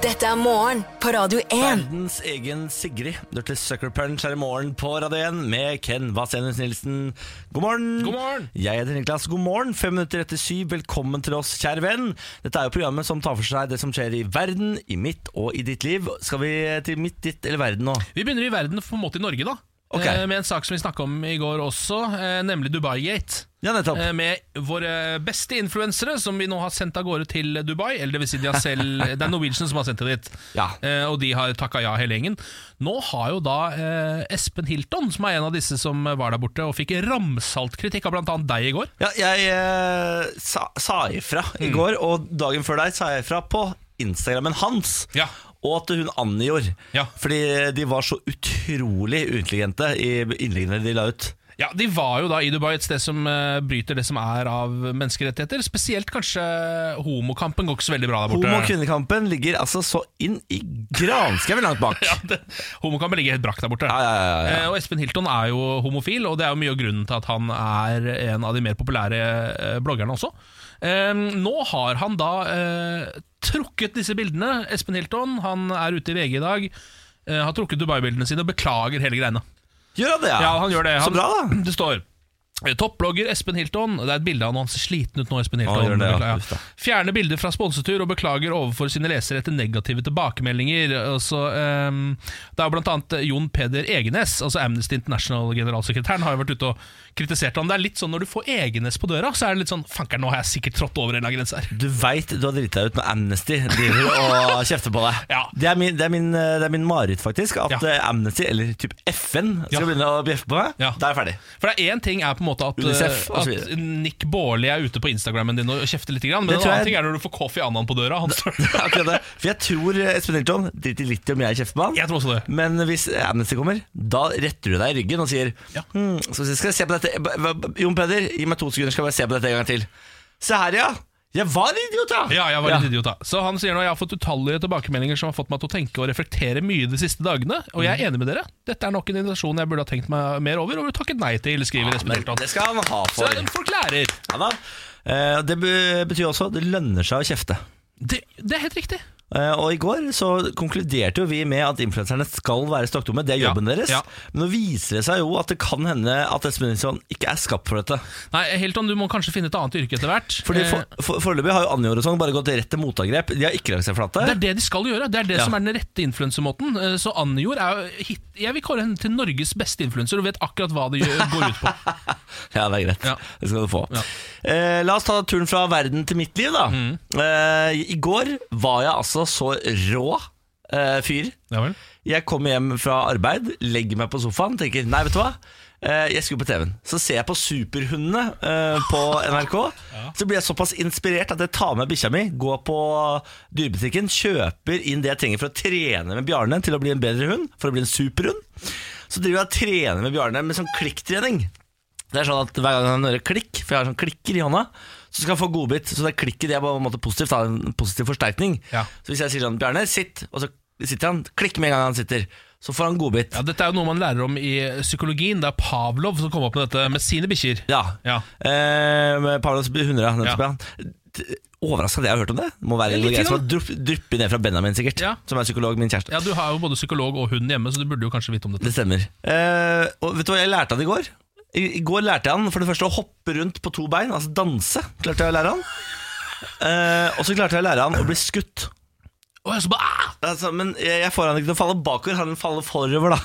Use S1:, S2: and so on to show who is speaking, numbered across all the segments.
S1: Dette er morgen på Radio 1.
S2: Verdens egen Sigrid. Du til Sucker Punch her i morgen på Radio 1 med Ken Vasenius Nilsen. God morgen.
S3: God morgen.
S2: Jeg heter Niklas. God morgen. Fem minutter etter syv. Velkommen til oss, kjære venn. Dette er jo programmet som tar for seg det som skjer i verden, i mitt og i ditt liv. Skal vi til mitt, ditt eller verden nå?
S3: Vi begynner i verden på en måte i Norge, da.
S2: Ok.
S3: Eh, Med en sak som vi snakka om i går også, eh, nemlig Dubai-gate.
S2: Ja, nettopp.
S3: Eh, Med våre beste influensere som vi nå har sendt av gårde til Dubai. Eller det vil si, de har selv, det er Norwegian som har sendt det dit,
S2: Ja.
S3: Eh, og de har takka ja hele gjengen. Nå har jo da eh, Espen Hilton, som er en av disse som var der borte, og fikk ramsalt kritikk av bl.a. deg i går.
S2: Ja, jeg eh, sa, sa ifra i går, og dagen før deg sa jeg ifra på Instagrammen hans.
S3: Ja.
S2: Og til hun Anne gjorde.
S3: Ja.
S2: Fordi de var så utrolig uintelligente i innleggene de la ut.
S3: Ja, De var jo da i Dubai et sted som eh, bryter det som er av menneskerettigheter. Spesielt kanskje homokampen går ikke så veldig bra der borte.
S2: Homo- og kvinnekampen ligger altså så inn i granskauen langt bak.
S3: Ja, det- Homokampen ligger helt brakk der borte.
S2: Ja, ja, ja, ja.
S3: Eh, Og Espen Hilton er jo homofil, og det er jo mye av grunnen til at han er en av de mer populære eh, bloggerne også. Eh, Nå har han da eh, trukket disse bildene. Espen Hilton han er ute i VG i dag. eh, har trukket Dubai-bildene sine og beklager hele greiene.
S2: Gjør han det, ja?
S3: Ja, han gjør det. Han,
S2: Så bra, da.
S3: Det står eh, Toppblogger Espen Hilton Det er et bilde av han, han ser sliten ut nå. Espen Hilton
S2: han gjør det, ja.
S3: Beklager.
S2: Uff da.
S3: Fjerne bilder fra sponsetur og beklager overfor sine lesere etter negative tilbakemeldinger. Altså, ehm, det er jo blant annet Jon Peder Egenes, altså Amnesty International-generalsekretæren, har jo vært ute og kritisert han. Det er litt sånn når du får Egenes på døra, så er det litt sånn Fanker'n, nå har jeg sikkert trådt over en eller annen grense her.
S2: Du veit du har driti deg ut når Amnesty driver og kjefter på deg.
S3: Ja.
S2: Det er min, det er min, eh, det er min mareritt, faktisk. At
S3: Ja.
S2: eh, Amnesty, eller typ FN, skal
S3: Ja.
S2: begynne å bjeffe på meg.
S3: Ja.
S2: Da er jeg ferdig.
S3: For det er én ting er på en måte at,
S2: UNICEF,
S3: eh,
S2: og så
S3: at
S2: videre.
S3: Nick Baarli er ute på Instagrammen din og kjefter litt, grann,
S2: Det
S3: men en
S2: tror
S3: annen
S2: jeg-
S3: ting er når du får Kofi Annan på døra. Han står
S2: Det er Akkurat det. For jeg tror eh, Espen Hilton driter litt i om jeg kjefter på han.
S3: Jeg tror også det.
S2: Men hvis Amnesty kommer, da retter du deg i ryggen og sier
S3: Ja.
S2: «Hm, så skal jeg se på dette B- b- Jon Peder, gi meg to sekunder, skal jeg bare se på dette en gang til. Se her, ja. Jeg var en idiot, ja!
S3: Ja, jeg var litt idiot da Så han sier nå Jeg har fått utallige tilbakemeldinger som har fått meg til å tenke og reflektere mye de siste dagene, og jeg er enig med dere. Dette er nok en invitasjon jeg burde ha tenkt meg mer over og takket nei til, skriver Espen
S2: Men
S3: Hilton.
S2: det skal han ha
S3: Så
S2: for.
S3: folk lærer.
S2: Ja, da. Eh, Det be- betyr også at det lønner seg å kjefte.
S3: Det, det er helt riktig.
S2: Eh, Og i går så konkluderte jo vi med at influenserne skal være stokkdumme. Det er jobben
S3: Ja,
S2: deres.
S3: ja.
S2: Men nå viser det seg jo at det kan hende at Espen Nilsson ikke er skapt for dette.
S3: Nei, Hilton, du må kanskje finne et annet yrke etter hvert.
S2: Fordi
S3: Eh,
S2: for- for- Foreløpig har jo Anjor og sånn bare gått rett til motangrep. De har ikke lagt seg flate.
S3: det er det de skal gjøre. Det er det
S2: Ja.
S3: som er den rette influensemåten. Eh, Så Anjor er jo hit, Jeg vil kåre henne til Norges beste influenser og vet akkurat hva det gjør- går ut på.
S2: Ja, det er greit.
S3: Ja.
S2: Det skal du få.
S3: Ja. Mm.
S2: Eh, la oss ta turen fra verden til mitt liv, da. Eh, I går var jeg altså så rå eh, fyr.
S3: Ja vel.
S2: Jeg kommer hjem fra arbeid, legger meg på sofaen, tenker nei, vet du hva. Eh, Jeg skulle på TV-en. Så ser jeg på Superhundene eh, på NRK. Så blir jeg såpass inspirert at jeg tar med bikkja mi, går på dyrebutikken, kjøper inn det jeg trenger for å trene med Bjarne til å bli en bedre hund, for å bli en superhund. Så driver jeg og trener med Bjarne med sånn klikktrening. Det er sånn at Hver gang han hører klikk, for jeg har sånn klikker i hånda, så skal han få godbit. Så det klikket det er på en måte positivt, da, en positiv forsterkning.
S3: Ja.
S2: Så hvis jeg sier sånn Bjarne, sitt, og så sitter han, klikk med en gang han sitter, så får han godbit.
S3: Ja, dette er jo noe man lærer om i psykologien. Det er Pavlov som kom opp med dette med sine bikkjer.
S2: Ja.
S3: Ja.
S2: Eh, med Paulos 100, ja, nettopp,
S3: Ja.
S2: ja. D- Overraskende at jeg har hørt om det. Det må være
S3: Ja,
S2: en
S3: litt
S2: greie som
S3: grann.
S2: har drupp- dryppet ned fra Benjamin, sikkert.
S3: Ja.
S2: Som er psykolog, min kjæreste.
S3: Ja, Du har jo både psykolog og hund hjemme, så du burde jo kanskje vite om dette.
S2: Det stemmer. Eh, og vet du hva jeg lærte han i går? I, I går lærte jeg han for det første å hoppe rundt på to bein, altså danse. Klarte jeg å lære han. Eh, og så klarte jeg å lære han å bli skutt.
S3: Å, jeg så bare, ah!
S2: Altså, men jeg, jeg får han ikke til å falle bakover, han faller forover, da.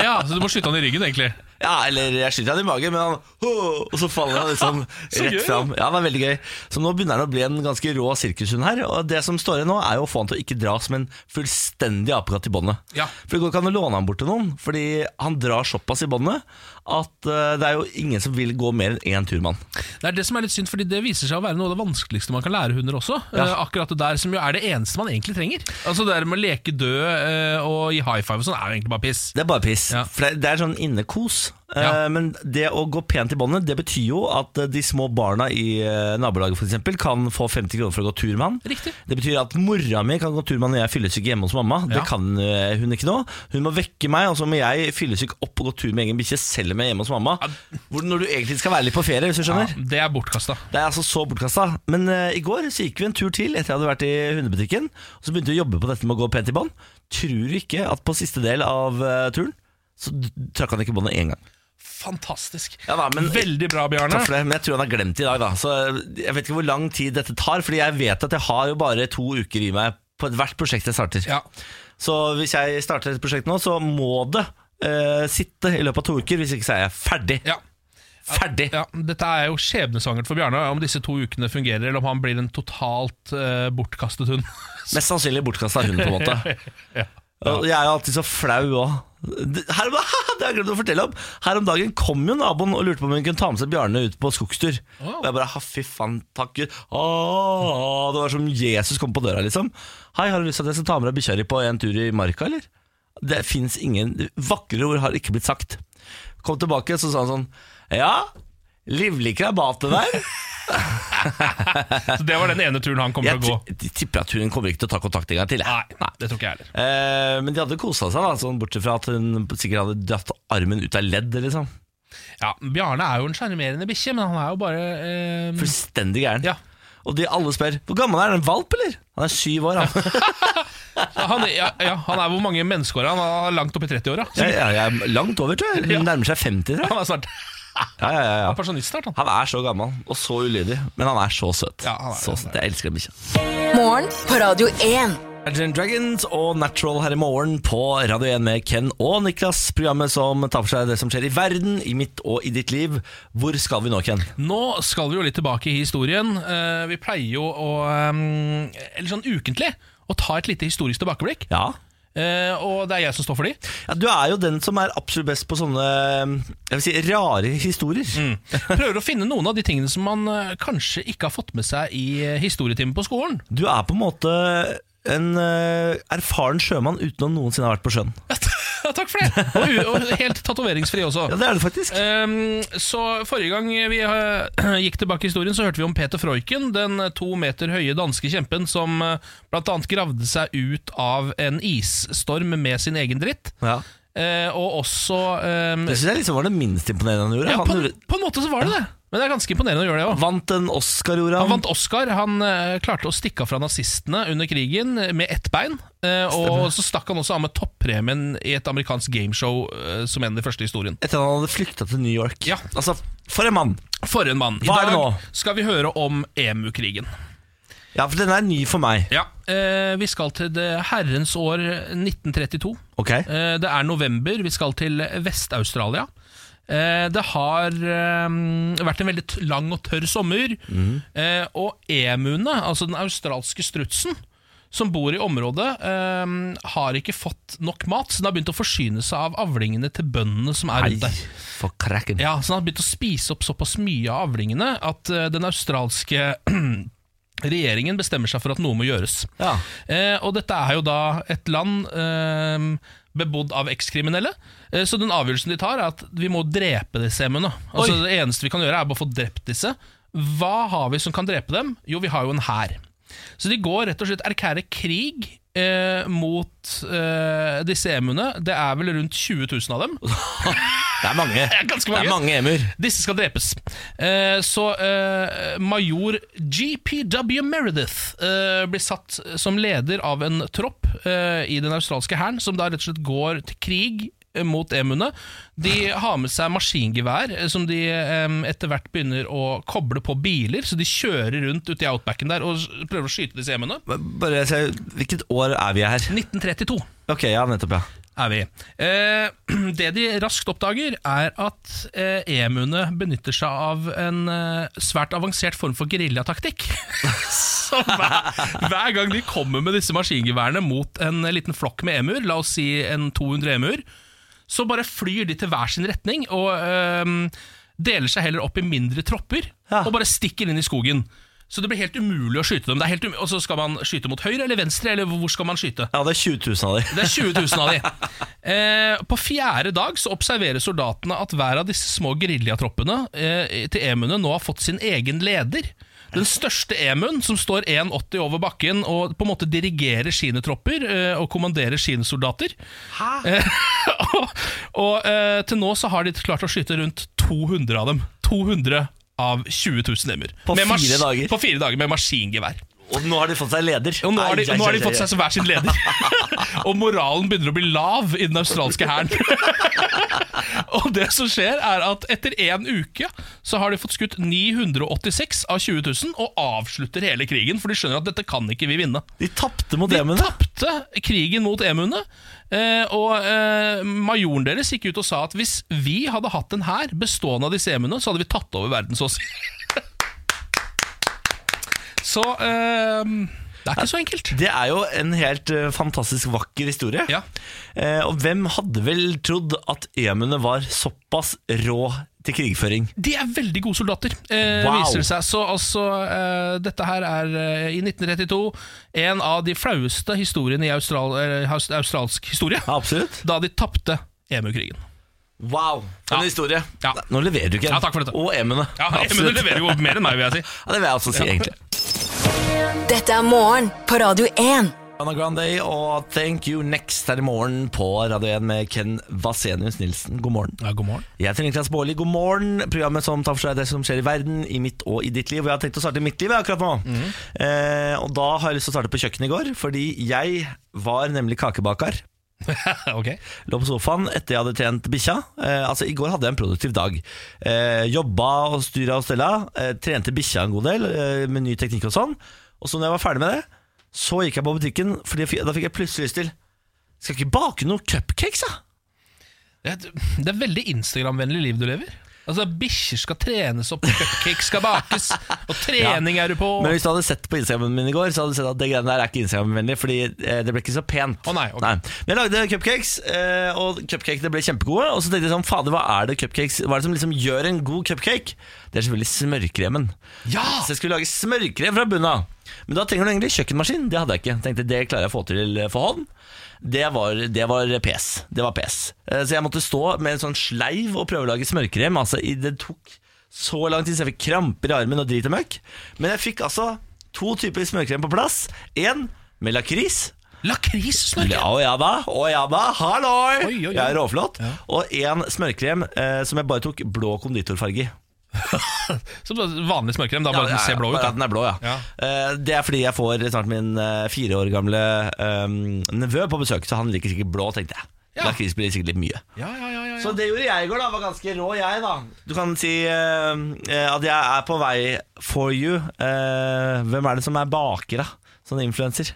S3: Ja, Så du må skyte han i ryggen, egentlig.
S2: Ja, eller jeg skyter han i magen, men han «Hå!» Og så faller han liksom
S3: Så
S2: rett
S3: gøy, da.
S2: fram. Ja, det var veldig gøy. Så nå begynner han å bli en ganske rå sirkushund her. Og det som står igjen nå, er jo å få han til å ikke dra som en fullstendig apekatt i båndet.
S3: Ja.
S2: For det går ikke an å låne han bort til noen, fordi han drar såpass i båndet at eh, det er jo ingen som vil gå mer enn én tur med han.
S3: Det er det som er litt synd, fordi det viser seg å være noe av det vanskeligste man kan lære hunder også. Eh, akkurat det der som jo er det eneste man egentlig trenger. Altså Det der med å leke død eh, og gi high five og sånn er jo egentlig bare piss.
S2: Det er bare piss.
S3: Ja.
S2: For det, det er sånn innekos. Eh,
S3: Ja.
S2: Eh, Men det å gå pent i båndet, det betyr jo at eh, de små barna i eh, nabolaget for eksempel, kan få 50 kroner for å gå tur med han.
S3: Riktig.
S2: Det betyr at mora mi kan gå tur med han når jeg er fyllesyk hjemme hos mamma. Det
S3: Ja.
S2: kan eh, hun ikke nå. Hun må vekke meg, og så må jeg fyllesyk opp og gå tur med egen bikkje selv om jeg er hjemme hos mamma. Hvor, når du egentlig skal være litt på ferie, hvis du skjønner.
S3: det er bortkasta.
S2: Det er altså så bortkasta. Men eh, i går så gikk vi en tur til etter jeg hadde vært i hundebutikken. Og så begynte vi å jobbe på dette med å gå pent i bånd. Tror du ikke at på siste del av eh, turen så d- trakk han ikke båndet én gang.
S3: Fantastisk.
S2: Ja da, men-
S3: Veldig bra, Bjarne.
S2: Takk for det, men jeg tror han har glemt det i dag, da. Så eh, jeg vet ikke hvor lang tid dette tar, fordi jeg vet at jeg har jo bare to uker i meg på ethvert prosjekt jeg starter.
S3: Ja.
S2: Så hvis jeg starter et prosjekt nå, så må det eh, sitte i løpet av to uker, hvis ikke så er jeg ferdig.
S3: Ja.
S2: Ferdig!
S3: Ja, dette er jo skjebnesvangert for Bjarne, om disse to ukene fungerer, eller om han blir en totalt eh, bortkastet hund.
S2: Mest sannsynlig bortkasta hund, på en måte. Og Jeg er jo alltid så flau òg. Det her om- det har jeg glemt å fortelle om. Her om dagen kom jo naboen og lurte på om hun kunne ta med seg Bjarne ut på skogstur.
S3: Wow.
S2: Og jeg bare ha, fy faen, takk Gud. Åh, det var som Jesus kom på døra, liksom. Hei, har du lyst til at jeg skal ta med deg bikkja di på en tur i marka, eller? Det fins ingen Vakre ord har ikke blitt sagt. Kom tilbake, så sa han sånn Ja, livlig krabat det der.
S3: Så det var den ene turen han kommer
S2: Jeg
S3: til å gå.
S2: ti- tipper at hun kommer ikke til å ta kontakt en gang til. jeg.
S3: Nei, det tror ikke jeg heller.
S2: Eh, men de hadde kosa seg, da sånn, bortsett fra at hun sikkert hadde dratt armen ut av ledd. Liksom.
S3: Ja, Bjarne er jo en sjarmerende bikkje, men han er jo bare eh,
S2: Fullstendig gæren.
S3: Ja.
S2: Og de alle spør hvor gammel er den valp, eller? Han er syv år. Han.
S3: han, ja, ja, han er hvor mange menneskeår er han? Han er langt opp i 30-åra.
S2: Jeg, jeg, jeg er langt over, tror jeg.
S3: Ja.
S2: Hun nærmer seg 50, tror jeg.
S3: Han er snart
S2: Ja, ja, ja, ja.
S3: pensjonist snart, han.
S2: Han er så gammel og så ulydig, men han er så søt.
S3: Ja, han er
S2: så
S3: det.
S2: søt. Jeg elsker den bikkja.
S1: Morgen på Radio 1.
S2: Imagine Dragons og Natural her i morgen på Radio 1 med Ken og Niklas. Programmet som tar for seg det som skjer i verden, i mitt og i ditt liv. Hvor skal vi nå, Ken?
S3: Nå skal vi jo litt tilbake i historien. Eh, vi pleier jo å eh, Eller sånn ukentlig å ta et lite historisk tilbakeblikk.
S2: Ja,
S3: Eh, og det er jeg som står for de.
S2: Ja, du er jo den som er absolutt best på sånne jeg vil si, rare historier.
S3: Prøver å finne noen av de tingene som man eh, kanskje ikke har fått med seg i eh, historietimen på skolen.
S2: Du er på en måte en eh, erfaren sjømann uten å noensinne ha vært på sjøen.
S3: Ja, Takk for det! Og, u- og helt tatoveringsfri også.
S2: Ja, det er du faktisk.
S3: Ehm, så forrige gang vi eh, gikk tilbake i historien, så hørte vi om Peter Freuchen, den eh, to meter høye danske kjempen som eh, blant annet gravde seg ut av en isstorm med sin egen dritt.
S2: Ja.
S3: Eh, og også ehm,
S2: Det syns jeg liksom var det minst imponerende han gjorde.
S3: ja, på,
S2: han
S3: en-
S2: gjorde,
S3: på en måte så var det det, men det er ganske imponerende å gjøre det òg.
S2: vant en Oscar, gjorde
S3: Han
S2: han.
S3: vant Oscar. Han eh, klarte å stikke av fra nazistene under krigen eh, med ett bein. eh, og så stakk han også av med toppremien i et amerikansk gameshow eh, som en av de første i historien.
S2: Etter at han hadde flykta til New York.
S3: Ja.
S2: Altså, for en mann!
S3: For en mann. I
S2: Hva er det
S3: dag
S2: nå?
S3: skal vi høre om EMU-krigen.
S2: Ja, for den er ny for meg.
S3: Ja, eh, Vi skal til det herrens år 1932.
S2: Ok?
S3: Eh, det er november. Vi skal til Vest-Australia. Eh, det har eh, vært en veldig t- lang og tørr sommer.
S2: Mhm.
S3: Eh, og emuene, altså den australske strutsen, som bor i området, eh, har ikke fått nok mat, så den har begynt å forsyne seg av avlingene til bøndene som er
S2: Nei,
S3: rundt der.
S2: for kraken.
S3: Ja, så han har begynt å spise opp såpass mye av avlingene at eh, den australske regjeringen bestemmer seg for at noe må gjøres.
S2: Ja.
S3: Eh, og dette er jo da et land eh, bebodd av ekskriminelle, eh, så den avgjørelsen de tar er at vi må drepe disse emuene. Altså, det eneste vi kan gjøre er bare å få drept disse. Hva har vi som kan drepe dem? Jo, vi har jo en hær. Så de går rett og slett erklærer krig eh, mot eh, disse emuene. Det er vel rundt 20 000 av dem.
S2: Det er mange.
S3: er ganske
S2: Det
S3: mange.
S2: er mange emuer.
S3: Disse skal drepes. Eh, så eh, major GPW Meredith eh, blir satt som leder av en tropp eh, i den australske hæren, som da rett og slett går til krig eh, mot emuene. De har med seg maskingevær, eh, som de eh, etter hvert begynner å koble på biler. Så de kjører rundt ute i outbacken der og s- prøver å skyte disse emuene.
S2: Bare se, Hvilket år er vi her?
S3: 1932
S2: Ok, ja, nettopp, ja.
S3: er vi. Eh, det de raskt oppdager, er at eh, emuene benytter seg av en eh, svært avansert form for geriljataktikk. Så hver, hver gang de kommer med disse maskingeværene mot en liten flokk med emuer, la oss si en 200 emuer, så bare flyr de til hver sin retning og eh, deler seg heller opp i mindre tropper
S2: Ja.
S3: og bare stikker inn i skogen. Så det blir helt umulig å skyte dem. Det er helt um og så skal man skyte mot høyre eller venstre, eller hvor skal man skyte?
S2: Ja, det er 20 000 av de.
S3: Det er 20 000 av de. Eh, på fjerde dag så observerer soldatene at hver av disse små geriljatroppene eh, til emuene nå har fått sin egen leder. Den største emuen, som står 1,80 over bakken og på en måte dirigerer sine tropper eh, og kommanderer sine soldater. Eh, og og eh, til nå så har de klart å skyte rundt 200 av dem. 200 av 20 000 emuer.
S2: På
S3: Med mas-
S2: fire dager?
S3: På fire dager med maskingevær.
S2: Og nå har de fått seg leder.
S3: Og nå har, de,
S2: Ai, ai,
S3: nå har de
S2: ai,
S3: fått
S2: ai.
S3: seg hver sin leder. og moralen begynner å bli lav i den australske hæren. og det som skjer, er at etter én uke så har de fått skutt 986 av 20 000, og avslutter hele krigen, for de skjønner at dette kan ikke vi vinne.
S2: De tapte mot
S3: De
S2: emuene.
S3: tapte krigen mot emuene, eh, og eh, majoren deres gikk ut og sa at hvis vi hadde hatt en hær bestående av disse emuene, så hadde vi tatt over verden, så å si. Så eh, det er ikke så enkelt.
S2: Det er jo en helt eh, fantastisk vakker historie.
S3: Ja.
S2: Eh, og hvem hadde vel trodd at emuene var såpass rå til krigføring?
S3: De er veldig gode soldater, eh,
S2: Wow.
S3: viser det seg. Så altså, eh, dette her er eh, i 1932 en av de flaueste historiene i austral, eh, haus- australsk historie.
S2: Ja, absolutt.
S3: Da de tapte EMU-krigen.
S2: Wow, for
S3: Ja.
S2: en historie.
S3: Ja.
S2: Nå leverer du ikke
S3: Ja, takk for dette.
S2: Og emuene.
S3: Ja, men
S2: Absolutt.
S3: du leverer jo mer enn meg, vil jeg si.
S2: Ja, det vil jeg også si, egentlig.
S1: Dette er morgen på Radio 1.
S2: Anna Grande og Thank You Next her i morgen på Radio 1 med Ken Vasenius Nilsen. God morgen.
S3: Ja, god morgen.
S2: Jeg heter Niklas Baarli. God morgen. Programmet som tar for seg det som skjer i verden, i mitt og i ditt liv. Og jeg har tenkt å starte i mitt liv jeg, akkurat nå. Eh, og da har jeg lyst til å starte på kjøkkenet i går, fordi jeg var nemlig kakebaker.
S3: ok.
S2: Lå på sofaen etter jeg hadde trent bikkja. Eh, altså, I går hadde jeg en produktiv dag. Eh, jobba og styra og stella. Eh, trente bikkja en god del eh, med ny teknikk og sånn. Og så når jeg var ferdig med det, så gikk jeg på butikken, for da fikk jeg plutselig lyst til Skal jeg ikke bake noen cupcakes, da?
S3: Det er, det er veldig Instagram-vennlig liv du lever. Altså, Bikkjer skal trenes opp, cupcakes skal bakes, og trening er du på.
S2: Men hvis du hadde sett på Instagramen min i går, Så hadde du sett at det greiene der er ikke Instagram-vennlig, Fordi eh, det ble ikke så pent.
S3: Å nei, ok.
S2: Men jeg lagde cupcakes, eh, og cupcakene ble kjempegode. Og så tenkte jeg sånn, fader, hva er det cupcakes Hva er det som liksom gjør en god cupcake? Det er selvfølgelig smørkremen.
S3: Ja!
S2: Så jeg skulle lage smørkrem fra bunnen av. Men da trenger du egentlig kjøkkenmaskin. Det hadde jeg ikke. Tenkte det klarer jeg å få til eh, for hånd. Det var, det var pes. Det var pes. Eh, Så jeg måtte stå med en sånn sleiv og prøve å lage smørkrem. Altså, i- det tok så lang tid, så jeg fikk kramper i armen og drit og møkk. Men jeg fikk altså to typer smørkrem på plass. En med lakris.
S3: Lakrissmørk!
S2: Ja, og ja da, og ja da, halloi!
S3: Oi, oi, oi.
S2: Jeg er råflott. Og en smørkrem eh, som jeg bare tok blå konditorfarge i.
S3: Som vanlig smørkrem, da bare
S2: Ja,
S3: den ser blå ut.
S2: bare
S3: da.
S2: at den er blå, ja.
S3: Ja.
S2: Eh, det er fordi jeg får snart min eh, fire år gamle eh, nevø på besøk, så han liker sikkert blå, tenkte jeg.
S3: Ja.
S2: Lakris blir sikkert litt mye.
S3: Ja, ja, ja, ja, ja.
S2: Så det gjorde jeg i går, da. Var ganske rå, jeg, da. Du kan si eh, eh, at jeg er på vei for you. Eh, hvem er det som er baker, da? Sånn influenser.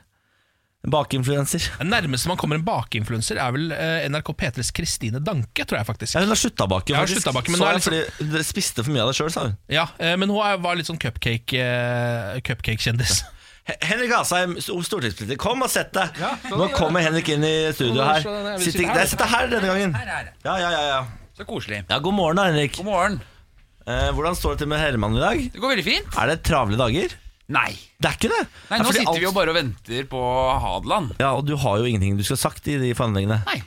S2: Bakeinfluenser.
S3: Den nærmeste man kommer en bakeinfluenser, er vel eh, NRK P3s Kristine Danke, tror jeg
S2: Ja,
S3: faktisk.
S2: hun har slutta å bake,
S3: Ja, hun har
S2: faktisk.
S3: sluttet å bake, men
S2: så
S3: nå er liksom-
S2: jeg fordi det spiste for mye av det sjøl, sa hun.
S3: Ja, eh, Men hun er, var litt sånn cupcake, eh, cupcake-kjendis.
S2: He- Henrik Asheim, sto- stortingspolitiker, kom og sett deg!
S3: Ja, sånn,
S2: Nå
S3: ja.
S2: kommer Henrik inn i studio
S3: Nå
S2: her.
S3: slår den her. Vi
S2: Sitter,
S3: sitter her.
S2: nei, sitter her denne gangen.
S4: Her, her.
S2: Ja, ja, ja, ja.
S4: Så koselig.
S2: ja God morgen, da, Henrik.
S4: God morgen.
S2: Eh, hvordan står det til med Herman i dag?
S4: Det går veldig fint.
S2: Er det travle dager?
S4: Nei.
S2: Det er ikke det!
S4: Nei, Nå sitter vi jo bare og venter på Hadeland.
S2: Ja, Og du har jo ingenting du skal ha sagt i de forhandlingene.
S4: Nei.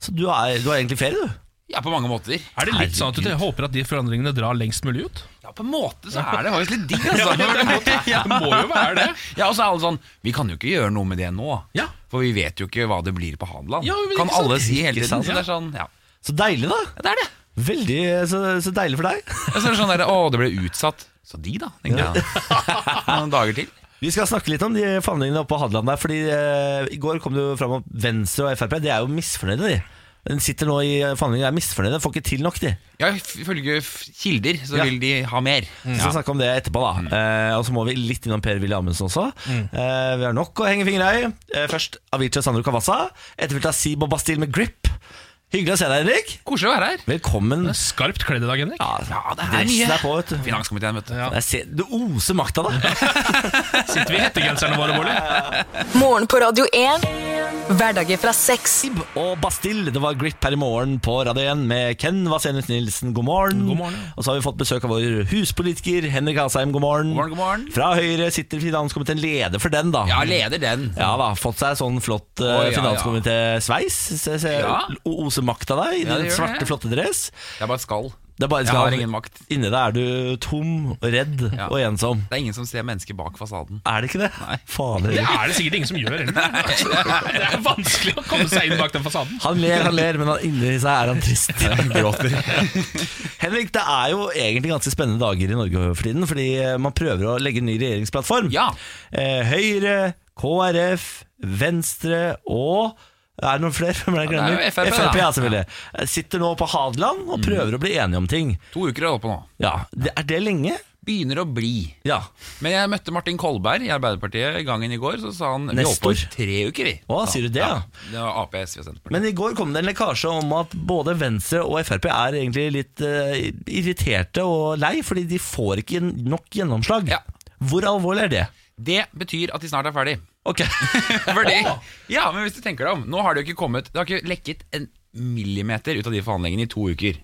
S2: Så du er, du har egentlig ferie, du.
S4: Ja, på mange måter.
S3: Er det litt sånn at du håper at de forandringene drar lengst mulig ut?
S4: Ja, på en måte så er det faktisk litt digg, altså.
S3: Det må jo være det.
S4: Ja, og så er alle sånn Vi kan jo ikke gjøre noe med det nå.
S3: Ja.
S4: For vi vet jo ikke hva det blir på Hadeland.
S3: Ja, men
S4: kan
S3: ikke sant?
S4: alle si hele
S2: Ikke
S4: tiden.
S2: sant?
S4: Så det er sånn, ja.
S2: Så deilig, da.
S4: ja det er det.
S2: Veldig, Så, så deilig for deg.
S4: Og så er det sånn der, Å, det ble utsatt. Så de, da. Tenkte jeg. Noen dager til.
S2: Vi skal snakke litt om de forhandlingene oppe på Hadeland der, fordi eh, i går kom det jo fram at Venstre og Frp de er jo misfornøyde, de. De sitter nå i forhandlinger og er misfornøyde, får ikke til nok, de.
S4: Ja, ifølge f- kilder så
S2: Ja. Mm.
S4: vil de ha mer.
S2: Vi skal snakke om det etterpå,
S4: Mm.
S2: da. Eh, og så må vi litt innom Per Willy Amundsen også. Eh, vi har nok å henge fingra i. Eh, først Avicii og Sandro Cavazza. Etterfulgt av Sib og Bastille med Grip. Hyggelig å se deg, Henrik.
S4: Koselig å være her.
S2: Velkommen.
S3: Det er Skarpt kledd i dag, Henrik.
S4: Ja, det er
S2: Dressen
S4: mye.
S2: er på, vet du.
S4: Finanskomiteen, vet du.
S3: Ja.
S2: Jeg ser, du oser makta, da.
S3: Sitter vi i hettegenserne våre, Bårdli?
S1: Morgen på Radio 1. Hverdager fra seks.
S2: Sib og Bastille, det var Grip her i morgen på Radio 1 med Ken Vasenus Nilsen, god morgen.
S3: God morgen, ja.
S2: Og så har vi fått besøk av vår huspolitiker Henrik Asheim, god morgen.
S4: God morgen, god morgen.
S2: Fra Høyre sitter finanskomiteen leder for den, da.
S4: Ja, leder den.
S2: Ja da, fått seg sånn flott uh,
S4: Å, ja,
S2: finanskomité-sveis. Se, se,
S4: Ja.
S2: o- Oser makt av deg i
S4: Ja, det
S2: den
S4: gjør
S2: svarte,
S4: det.
S2: flotte dress.
S4: Det er bare et skall.
S2: Det er bare
S4: Jeg
S2: skal,
S4: har ingen makt.
S2: Inni deg er du tom, redd
S4: Ja.
S2: og ensom.
S4: Det er ingen som ser mennesket bak fasaden.
S2: Er det ikke det?
S4: Nei.
S2: Fader.
S3: Det er det sikkert ingen som gjør heller. Det er vanskelig å komme seg inn bak den fasaden.
S2: Han ler, han ler, men han- inni seg er han trist.
S4: Gråter.
S2: Henrik, det er jo egentlig ganske spennende dager i Norge for tiden, fordi eh, man prøver å legge en ny regjeringsplattform.
S4: Ja.
S2: Eh, Høyre, KrF, Venstre og er det noen flere? Hvem er det jeg
S4: Ja, det er
S2: glemmer?
S4: jo FrP, da.
S2: ja, selvfølgelig. Sitter nå på Hadeland og prøver å bli enige om ting.
S4: To uker er det på nå.
S2: Ja, det, Er det lenge?
S4: Begynner å bli.
S2: Ja.
S4: Men jeg møtte Martin Kolberg i Arbeiderpartiet i gangen i går. Så sa han vi holder
S2: Nestor.
S4: på i tre uker, vi.
S2: Å, sier du det, ja?
S4: Det var Ap, SV og Senterpartiet.
S2: Men i går kom det en lekkasje om at både Venstre og Frp er egentlig litt eh, irriterte og lei, fordi de får ikke nok gjennomslag.
S4: Ja.
S2: Hvor alvorlig er det?
S4: Det betyr at de snart er ferdig.
S2: Ok.
S4: Fordi, ja, men hvis du tenker deg om Nå har det jo ikke kommet Det har ikke lekket en millimeter ut av de forhandlingene i to uker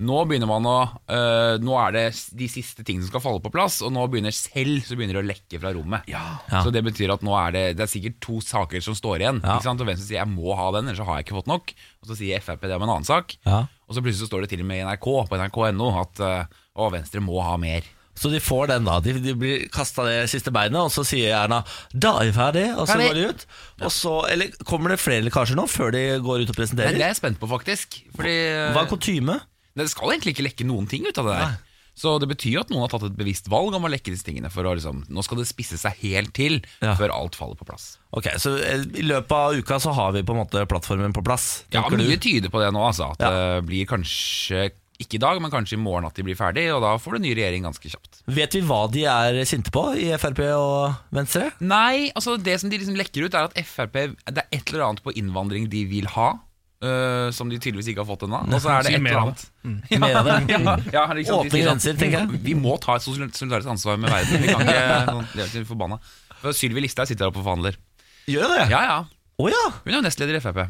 S4: Nå begynner man å øh, Nå er det s- de siste tingene som skal falle på plass Og nå begynner selv Så begynner det å lekke fra rommet
S2: Ja.
S4: Så det betyr at nå er det Det er sikkert to saker som står igjen
S2: Ja.
S4: Ikke sant? Og hvem som sier jeg må ha den Ellers så har jeg ikke fått nok Og så sier FRP det om en annen sak
S2: Ja.
S4: Og så plutselig så står det til og med i NRK På NRK.no At øh, å, Venstre må ha mer
S2: Så de får den, da. De, de blir kasta det siste beinet, og så sier Erna 'da er vi ferdig', og så
S4: Ferdig.
S2: går de ut. Og så, eller Kommer det flere lekkasjer nå før de går ut og
S4: Men det
S2: presenterer?
S4: er jeg spent på faktisk Fordi eh,
S2: Hva er kutyme?
S4: Nei, Det skal egentlig ikke lekke noen ting ut av det der. Så det betyr jo at noen har tatt et bevisst valg om å lekke disse tingene. For å liksom, nå skal det spisse seg helt til
S2: Ja.
S4: før alt faller på plass.
S2: Ok, så eh, I løpet av uka så har vi på en måte plattformen på plass.
S4: Ja,
S2: tenker
S4: Mye
S2: du?
S4: tyder på det nå. Altså, at
S2: Ja.
S4: det blir kanskje ikke i dag, men kanskje i morgen at de blir ferdig. Og da får du ny regjering ganske kjapt.
S2: Vet vi hva de er sinte på i Frp og Venstre?
S4: Nei, altså det som de liksom lekker ut, er at Frp Det er et eller annet på innvandring de vil ha. øh, som de tydeligvis ikke har fått ennå. Og så er det
S3: Si
S4: et
S3: mer
S4: eller
S3: av
S4: annet.
S2: Mer av det?
S4: Ja, ja, liksom,
S2: Åpne
S4: de sier sånn,
S2: grenser, tenker jeg.
S4: Vi må ta et sosial- solidarisk ansvar med verden. Vi kan ikke sånn, leve til vi er forbanna. For Sylvi Listhaug sitter her oppe og forhandler.
S2: Gjør det?
S4: Ja, ja.
S2: Å ja!
S4: Hun er jo nestleder i Frp.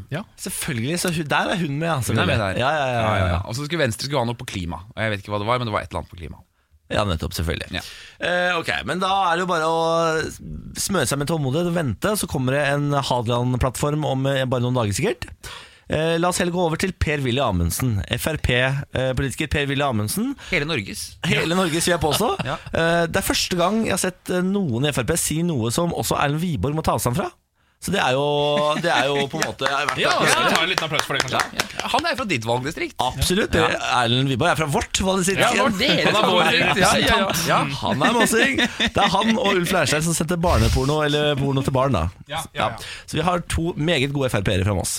S2: Selvfølgelig. Så hun, der er hun med, ja.
S4: Hun er med
S2: selvfølgelig.
S4: der.
S2: Ja, ja, ja, ja, ja.
S4: Og så skulle Venstre skulle ha noe på klima. Og jeg vet ikke hva det var, men det var et eller annet på klima.
S2: Ja, nettopp, selvfølgelig.
S4: Ja.
S2: Eh, ok, Men da er det jo bare å smøre seg med tålmodighet og vente, så kommer det en Hadeland-plattform om eh, bare noen dager, sikkert. Eh, la oss heller gå over til Per-Willy Amundsen. Frp-politiker Per-Willy Amundsen.
S4: Hele Norges.
S2: Hele Norges, vil jeg påstå.
S4: Ja.
S2: Eh, det er første gang jeg har sett eh, noen i Frp si noe som også Erlend Wiborg må ta avstand fra. Så det er jo, det er jo på en måte verdt
S3: Ja,
S2: det.
S3: skal vi ta en liten applaus for det, kanskje?
S4: Han er jo fra ditt
S2: Ah,
S4: valgdistrikt.
S2: Absolutt. det- Erlend Wiborg er fra vårt valgdistrikt.
S4: Ja, det var deres
S3: Han er vår
S4: valgdistrikt. Ja, ja, ja.
S2: Ja, han er mossing. Det er han og Ulf Leirstein som sendte barneporno eller porno til barn. da
S3: Ja, ja, Mm. ja.
S2: Så vi har to meget gode Frp-ere fra Moss.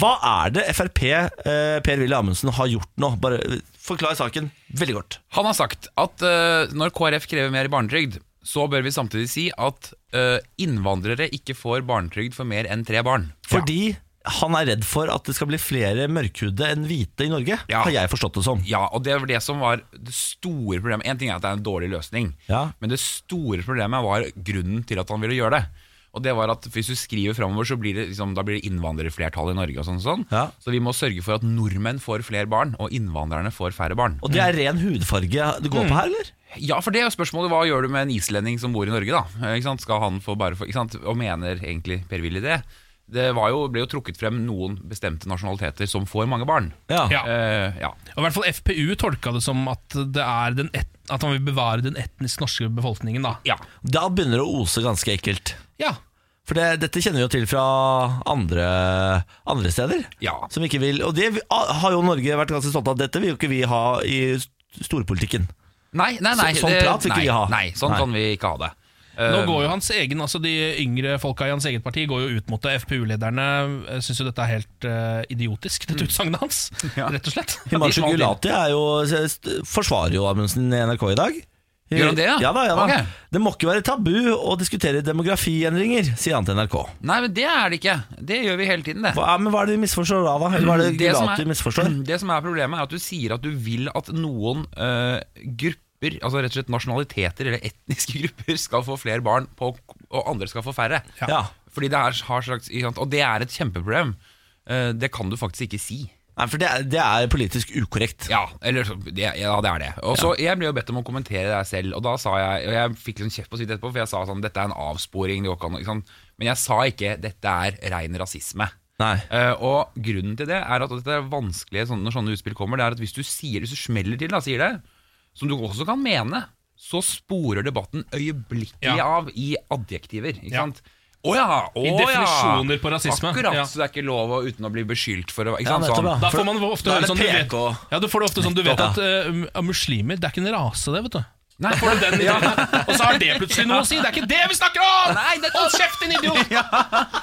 S2: Hva er det Frp eh, Per-Willy Amundsen har gjort nå? Bare eh, Forklar saken veldig godt.
S4: Han har sagt at eh, når KrF krever mer barnetrygd, så bør vi samtidig si at eh, innvandrere ikke får barnetrygd for mer enn tre barn.
S2: Fordi han er redd for at det skal bli flere mørkhudde enn hvite i Norge,
S4: Ja.
S2: har jeg forstått det som.
S4: Ja, og det var det som var det store problemet. En ting er at det er en dårlig løsning,
S2: Ja.
S4: men det store problemet var grunnen til at han ville gjøre det. Og det var at Hvis du skriver framover, så blir det, liksom, da blir det innvandrerflertall i Norge. og sånn og sånn.
S2: Ja.
S4: Så vi må sørge for at nordmenn får flere barn, og innvandrerne får færre barn.
S2: Og det
S3: Mm.
S2: er ren hudfarge det går på her, eller?
S4: Ja, for det er jo spørsmålet Hva gjør du med en islending som bor i Norge, da? Eh, Ikke sant? Skal han få bare få ikke sant? Og mener egentlig Per-Willy det? Det var jo, ble jo trukket frem noen bestemte nasjonaliteter som får mange barn.
S3: Ja.
S4: Eh, ja.
S3: Og i hvert fall FPU tolka det som at, det er den et, at man vil bevare den etnisk norske befolkningen. da
S4: ja.
S2: Da begynner det å ose ganske ekkelt.
S3: Ja,
S2: For det, dette kjenner vi jo til fra andre, andre steder.
S4: Ja.
S2: Som ikke vil, og det vi- har jo Norge vært ganske stolt av. Dette vil jo ikke vi ha i s- storpolitikken.
S4: Nei, nei, nei
S2: Så- sånn
S4: det-
S2: prat vil ikke
S4: nei,
S2: vi ha.
S4: Nei, sånn
S2: Nei.
S4: kan vi ikke ha det.
S3: Nå
S2: Um,
S4: Eh,
S3: går jo hans egen, altså De yngre folka i hans eget parti går jo ut mot det. FpU-lederne eh, syns jo dette er helt eh, idiotisk, dette
S2: Mm.
S3: utsagnet hans. Rett og slett.
S2: Himanshu
S4: smalt inn.
S2: Gulati er jo, s- forsvarer jo Amundsen i NRK i dag.
S4: Gjør han det, ja?
S2: Ja da, ja da.
S4: Ok.
S2: Det må ikke være tabu å diskutere demografiendringer, sier han til NRK.
S4: Nei, men det er det ikke. Det gjør vi hele tiden, det.
S2: Hva, ja, men hva er det vi misforstår da, da? Eller hva er det
S4: Det som
S2: Gulati
S4: er-
S2: misforstår?
S4: Det som er problemet, er at du sier at du vil at noen eh, grupper, altså rett og slett nasjonaliteter eller etniske grupper, skal få flere barn, på, og andre skal få færre.
S2: Ja.
S4: Fordi det er, har slags, ikke sant? Og det er et kjempeproblem. Eh, Det kan du faktisk ikke si.
S2: Nei, for det er, det er politisk ukorrekt.
S4: Ja, eller, så- det- ja det er det. Og så Jeg ble jo bedt om å kommentere det her selv, og da sa jeg Og jeg fikk litt kjeft på sitt etterpå, for jeg sa sånn Dette er en avsporing. Det går ikke an, å-" ikke sant? Men jeg sa ikke dette er rein rasisme.
S2: Nei.
S4: Eh, og grunnen til det er at og dette er vanskelige sånne, når sånne utspill kommer, det er at hvis du sier hvis du smeller til, da, sier det, som du også kan mene, så sporer debatten øyeblikkelig
S3: Ja.
S4: av i adjektiver. Ikke
S3: Ja.
S4: sant? Å ja! Å
S3: I definisjoner på rasisme.
S4: Akkurat,
S3: Ja.
S4: så det er ikke lov å, uten å bli beskyldt for å ikke
S2: Ja,
S4: sant,
S2: nettopp,
S4: sånn.
S2: ja.
S3: Da
S2: For-
S3: får man ofte
S2: da er
S3: høre
S2: det
S3: sånn du vet,
S2: PK.
S3: Ja, du får det ofte sånn Du vet
S2: Nettopp,
S3: at eh, muslimer, det er ikke en rase, det, vet du.
S4: Nei,
S3: Da får du den ideen. Og så har det plutselig noe å si! Det er ikke det vi snakker om!
S4: Nei, det-
S3: Hold kjeft, din idiot!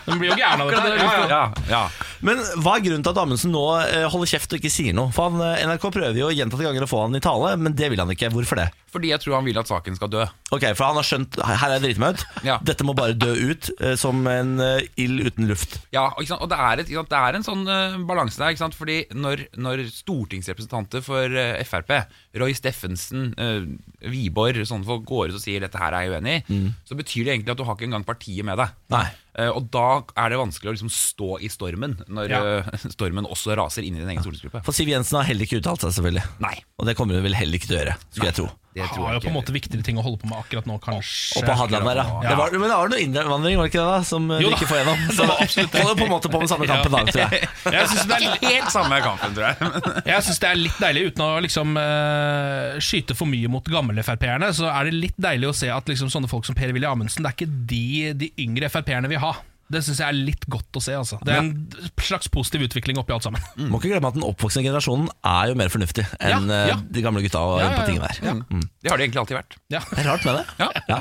S3: Den blir jo gæren av dette.
S4: ja, ja, ja.
S2: Men hva er grunnen til at Amundsen nå eh, holder kjeft og ikke sier noe? For han, eh, NRK prøver jo gjentatte ganger å få han i tale, men det vil han ikke. Hvorfor det?
S4: Fordi jeg tror han vil at saken skal dø.
S2: Ok, For han har skjønt her er jeg driti meg ut.
S4: Ja.
S2: Dette må bare dø ut eh, som en eh, ild uten luft.
S4: Ja, og ikke sant? og det er, et, ikke sant? det er en sånn eh, balanse der. Ikke sant? Fordi når, når stortingsrepresentanter for eh, Frp, Roy Steffensen, eh, Wiborg, sånne folk går ut og sier dette her er jeg uenig i,
S3: Mm.
S4: så betyr det egentlig at du har ikke engang partiet med deg.
S2: Nei.
S4: Eh, og da er det vanskelig å liksom stå i stormen, når
S3: Ja.
S4: eh, stormen også raser inn i din egen stortingsgruppe.
S2: For Siv Jensen har heller ikke uttalt seg, selvfølgelig.
S4: Nei,
S2: Og det kommer hun vel heller ikke til å gjøre, skulle jeg tro.
S4: det tror
S3: Har
S4: jeg
S3: jo på
S4: ikke.
S3: en måte viktigere ting å holde på med akkurat nå, kanskje.
S2: Og på Hadeland der, ja.
S3: Ja.
S2: Det var, men det var noe innvandring, var det ikke det? da? Som eh,
S3: Jo
S2: vi
S3: da.
S2: ikke får gjennom. Så holder på en måte på med samme kampen da, tror jeg.
S3: Jeg syns det, er-
S4: Helt samme kampen, tror jeg. Men-
S3: jeg synes det er litt deilig, uten å liksom eh, skyte for mye mot gamle Frp-erne, så er det litt deilig å se at liksom sånne folk som Per-Willy Amundsen, det er ikke de, de yngre Frp-erne vil ha. Det syns jeg er litt godt å se. altså Det er en slags positiv utvikling oppi alt sammen.
S2: Må ikke glemme at den oppvoksende generasjonen er jo mer fornuftig enn
S3: Ja, ja.
S2: eh, de gamle gutta og
S3: Ja, ja,
S2: på tingene der.
S3: ja.
S4: Det har det egentlig alltid vært.
S3: Ja.
S2: Det er rart med det.
S4: Ja.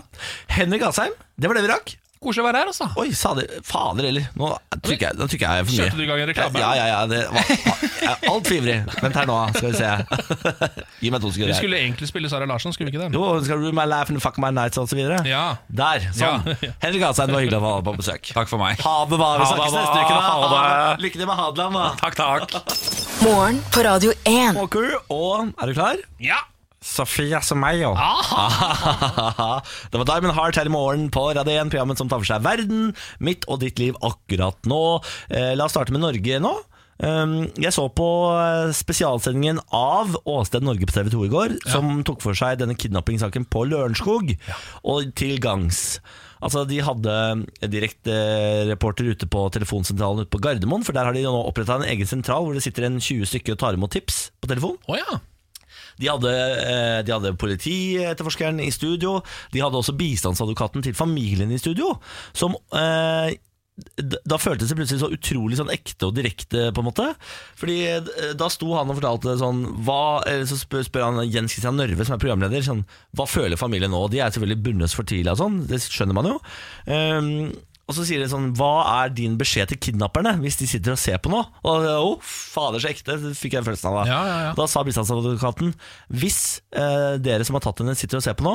S2: Henrik Asheim, det var det vi rakk.
S4: Koselig å være her, altså.
S2: Oi, sader, fader heller. Nå trykker jeg, nå trykker jeg for mye.
S3: Kjørte du i gang en reklame?
S2: Ja, ja, ja. Det var, jeg er altfor ivrig. Vent her nå, skal vi se. Gi meg to
S3: Vi
S2: sekunder. her.
S3: skulle egentlig spille Sara Larsson, skulle vi ikke det?
S2: Jo, skal du my life and fuck my nights og så videre?
S3: Ja.
S2: Der, sånn.
S3: Ja.
S2: Henrik Asheim, det var hyggelig å ha deg på besøk.
S4: Takk for meg.
S2: Ha det, da. Vi
S4: Ha det,
S2: snakkes
S4: da.
S2: neste uke. da.
S4: Ha det.
S2: Lykke til med Hadeland, da.
S4: Takk, takk.
S1: Morgen på Radio 1.
S2: Walker, og er du klar?
S3: Ja!
S2: Sofia som meg, jo. det var Diamond Heart her i morgen på Radio 1, programmet som tar for seg verden, mitt og ditt liv akkurat nå. Eh, la oss starte med Norge nå. Um, jeg så på eh, spesialsendingen av Åsted Norge på TV 2 i går, som tok for seg denne kidnappingssaken på Lørenskog, og til gangs. Altså, De hadde direktereporter ute på telefonsentralen ute på Gardermoen, for der har de nå oppretta en egen sentral hvor det sitter en 20 stykker og tar imot tips på telefon.
S3: Å ja.
S2: De hadde, eh, de hadde politietterforskeren i studio. De hadde også bistandsadvokaten til familien i studio. Som eh, d- Da føltes det plutselig så utrolig sånn ekte og direkte, på en måte. Fordi eh, da sto han og fortalte sånn hva, eller Så spør, spør han Jens Christian Nørve, som er programleder, sånn Hva føler familien nå? De er selvfølgelig bundet fortvila og sånn, det skjønner man jo. Ehm, og så sier de sånn Hva er din beskjed til kidnapperne hvis de sitter og ser på noe? Og oh, fader, så ekte, fikk jeg følelsen av. Da.
S3: Ja, ja, ja.
S2: Da sa bistandsadvokaten Hvis eh, dere som har tatt henne sitter og ser på nå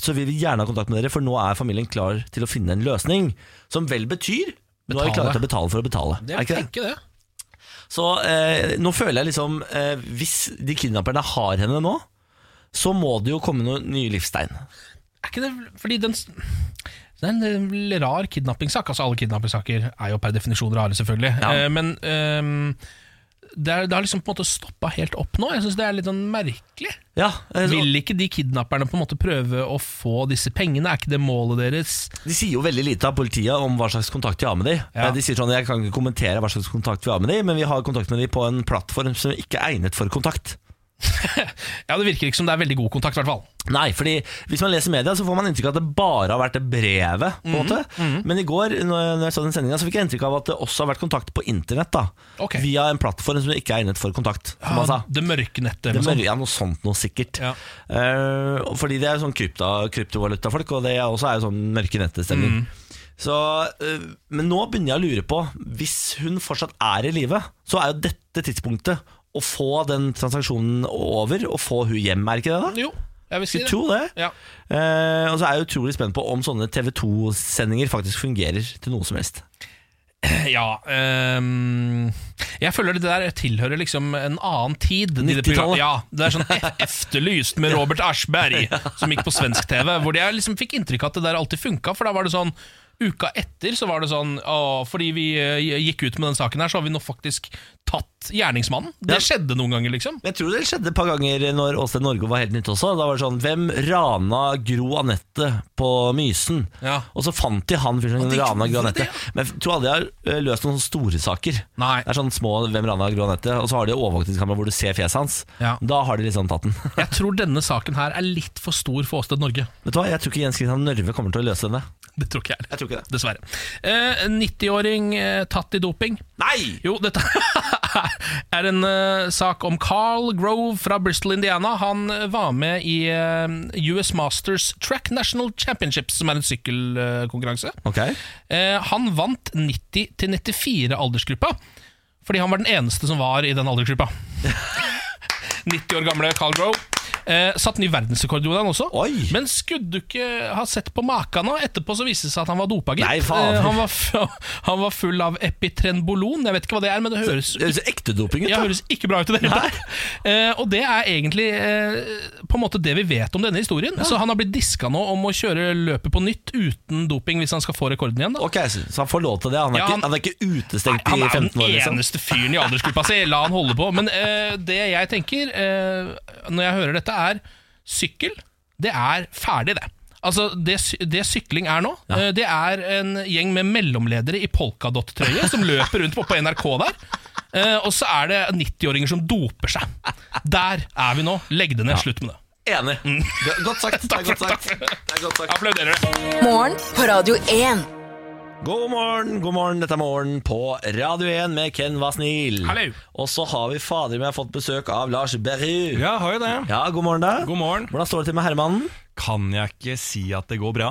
S2: Så vil vi gjerne ha kontakt med dere For nå er familien klar til å finne en løsning Som vel betyr Nå er vi
S3: Betale.
S2: klare til å betale for å betale
S3: Det
S2: Er
S3: er
S2: ikke det?
S3: tenke det.
S2: Så eh, nå føler jeg liksom eh, Hvis de kidnapperne har henne nå Så må det jo komme noen nye livstegn
S3: Er ikke det fordi den det er en eh, rar kidnappingssak. Altså Alle kidnappingssaker er jo per definisjon rare, selvfølgelig.
S2: Ja.
S3: Eh, Men ehm, det, er, det har liksom på en måte stoppa helt opp nå. Jeg syns det er litt sånn merkelig.
S2: Ja, eh, så,
S3: Vil ikke de kidnapperne på en måte prøve å få disse pengene? Er ikke det målet deres?
S2: de sier jo veldig lite av politiet om hva slags kontakt de har med dem
S3: Ja.
S2: De sier sånn, jeg kan ikke kommentere hva slags kontakt vi har med dem Men vi har kontakt med dem på en plattform som ikke er egnet for kontakt
S3: Ja, Det virker ikke som det er veldig god kontakt, i hvert fall.
S2: Nei, fordi hvis man leser media, så får man inntrykk av at det bare har vært det brevet. på en
S3: Mhm,
S2: måte. Men i går når når jeg så den sendingen, så fikk jeg inntrykk av at det også har vært kontakt på internett. da.
S3: Ok.
S2: Via en plattform som ikke er egnet for kontakt, som han sa.
S3: det mørke nettet.
S2: Det
S3: eller noe
S2: mør-
S3: sånt.
S2: ja, noe sånt noe sikkert.
S3: Ja.
S2: Eh, og fordi det er jo sånn krypta, kryptovalutafolk, og det er også er jo sånn mørke nettestemning.
S3: Mhm.
S2: Så, eh, men nå begynner jeg å lure på Hvis hun fortsatt er i live, så er jo dette tidspunktet å få den transaksjonen over og få hun hjem, er ikke det? da?
S3: Jo, jeg vil si
S2: Skulle
S3: det.
S2: tro det.
S3: Ja.
S2: Eh, og så er jeg utrolig spent på om sånne TV 2-sendinger faktisk fungerer til noe som helst.
S3: Ja ehm, Jeg føler det der tilhører liksom en annen tid. de der
S2: 90-tallet.
S3: program- Ja, det er sånn ef- Efterlyst med Robert Aschberg, som gikk på svensk-TV. Hvor jeg liksom fikk inntrykk av at det der alltid funka, for da var det sånn Uka etter så var det sånn å, Fordi vi eh, gikk ut med den saken her, så har vi nå faktisk tatt gjerningsmannen. Det skjedde noen ganger, liksom.
S2: Men jeg tror det skjedde et par ganger når Åsted Norge var helt nytt også. Da var det sånn Hvem rana Gro Anette på Mysen?
S3: Ja.
S2: Og så fant de han fyren som
S3: de
S2: rana
S3: gjorde
S2: Gro
S3: det,
S2: Anette. Men jeg tror aldri de har eh, løst noen sånne store saker.
S3: Nei.
S2: Det er sånn små Hvem rana Gro Anette? Og så har de overvåkningskamera hvor du ser fjeset hans.
S3: Ja.
S2: Da har de liksom tatt den.
S3: Jeg tror denne saken her er litt for stor for Åsted Norge.
S2: Vet du hva, jeg tror ikke Jens Christian Nørve kommer til å løse denne.
S3: Det tror ikke jeg.
S2: Jeg tror ikke det.
S3: Dessverre. Eh, 90-åring eh, tatt i doping.
S2: Nei!
S3: Jo, dette er en eh, sak om Carl Grove fra Bristol, Indiana. Han eh, var med i eh, US Masters Track National Championships, som er en sykkelkonkurranse.
S2: Ok.
S3: Eh, han vant 90-94-aldersgruppa, fordi han var den eneste som var i den aldersgruppa. 90 år gamle Carl Grove. Eh, satt ny verdensrekord gjorde han også.
S2: Oi.
S3: Men skulle du ikke ha sett på maka nå? Etterpå så viste det seg at han var dopa, gitt.
S2: Nei, faen.
S3: Eh, han, var f- han var full av epitrenbolon. Jeg vet ikke hva det er, men det høres
S2: Det høres ekte doping ut.
S3: ja,
S2: da.
S3: høres ikke bra ut i det hele
S2: Nei.
S3: tatt. Eh, og det er egentlig eh, på en måte det vi vet om denne historien. Så han har blitt diska nå om å kjøre løpet på nytt uten doping hvis han skal få rekorden igjen. da
S2: Ok, så så han får lov til det. Han er,
S3: Ja,
S2: ikke,
S3: han-
S2: han er ikke
S3: Nei,
S2: utestengt
S3: han
S2: i
S3: er jo
S2: 15 år,
S3: den
S2: liksom.
S3: eneste fyren i aldersgruppa si, la han holde på. Men eh, det jeg tenker eh, når jeg hører dette, er sykkel. Det er ferdig, det. Altså, Det, sy- det sykling er nå, eh, det er en gjeng med mellomledere i polkadott-trøye som løper rundt på, på NRK der. Eh, og så er det 90-åringer som doper seg. Der er vi nå. Legg det ned. Slutt med det.
S2: Enig.
S3: Mm.
S2: Go- Godt sagt. Det er godt sagt. Det er godt sagt.
S3: Applauderer det.
S1: Morgen på Radio 1.
S2: God morgen, god morgen, dette er morgen på Radio 1 med Ken Vasnil.
S3: Hallo.
S2: Og så har vi fader meg fått besøk av Lars Berru.
S5: Ja, har jo det.
S2: Ja, god morgen da.
S5: God morgen.
S2: Hvordan står det til med Hermannen?
S5: Kan jeg ikke si at det går bra?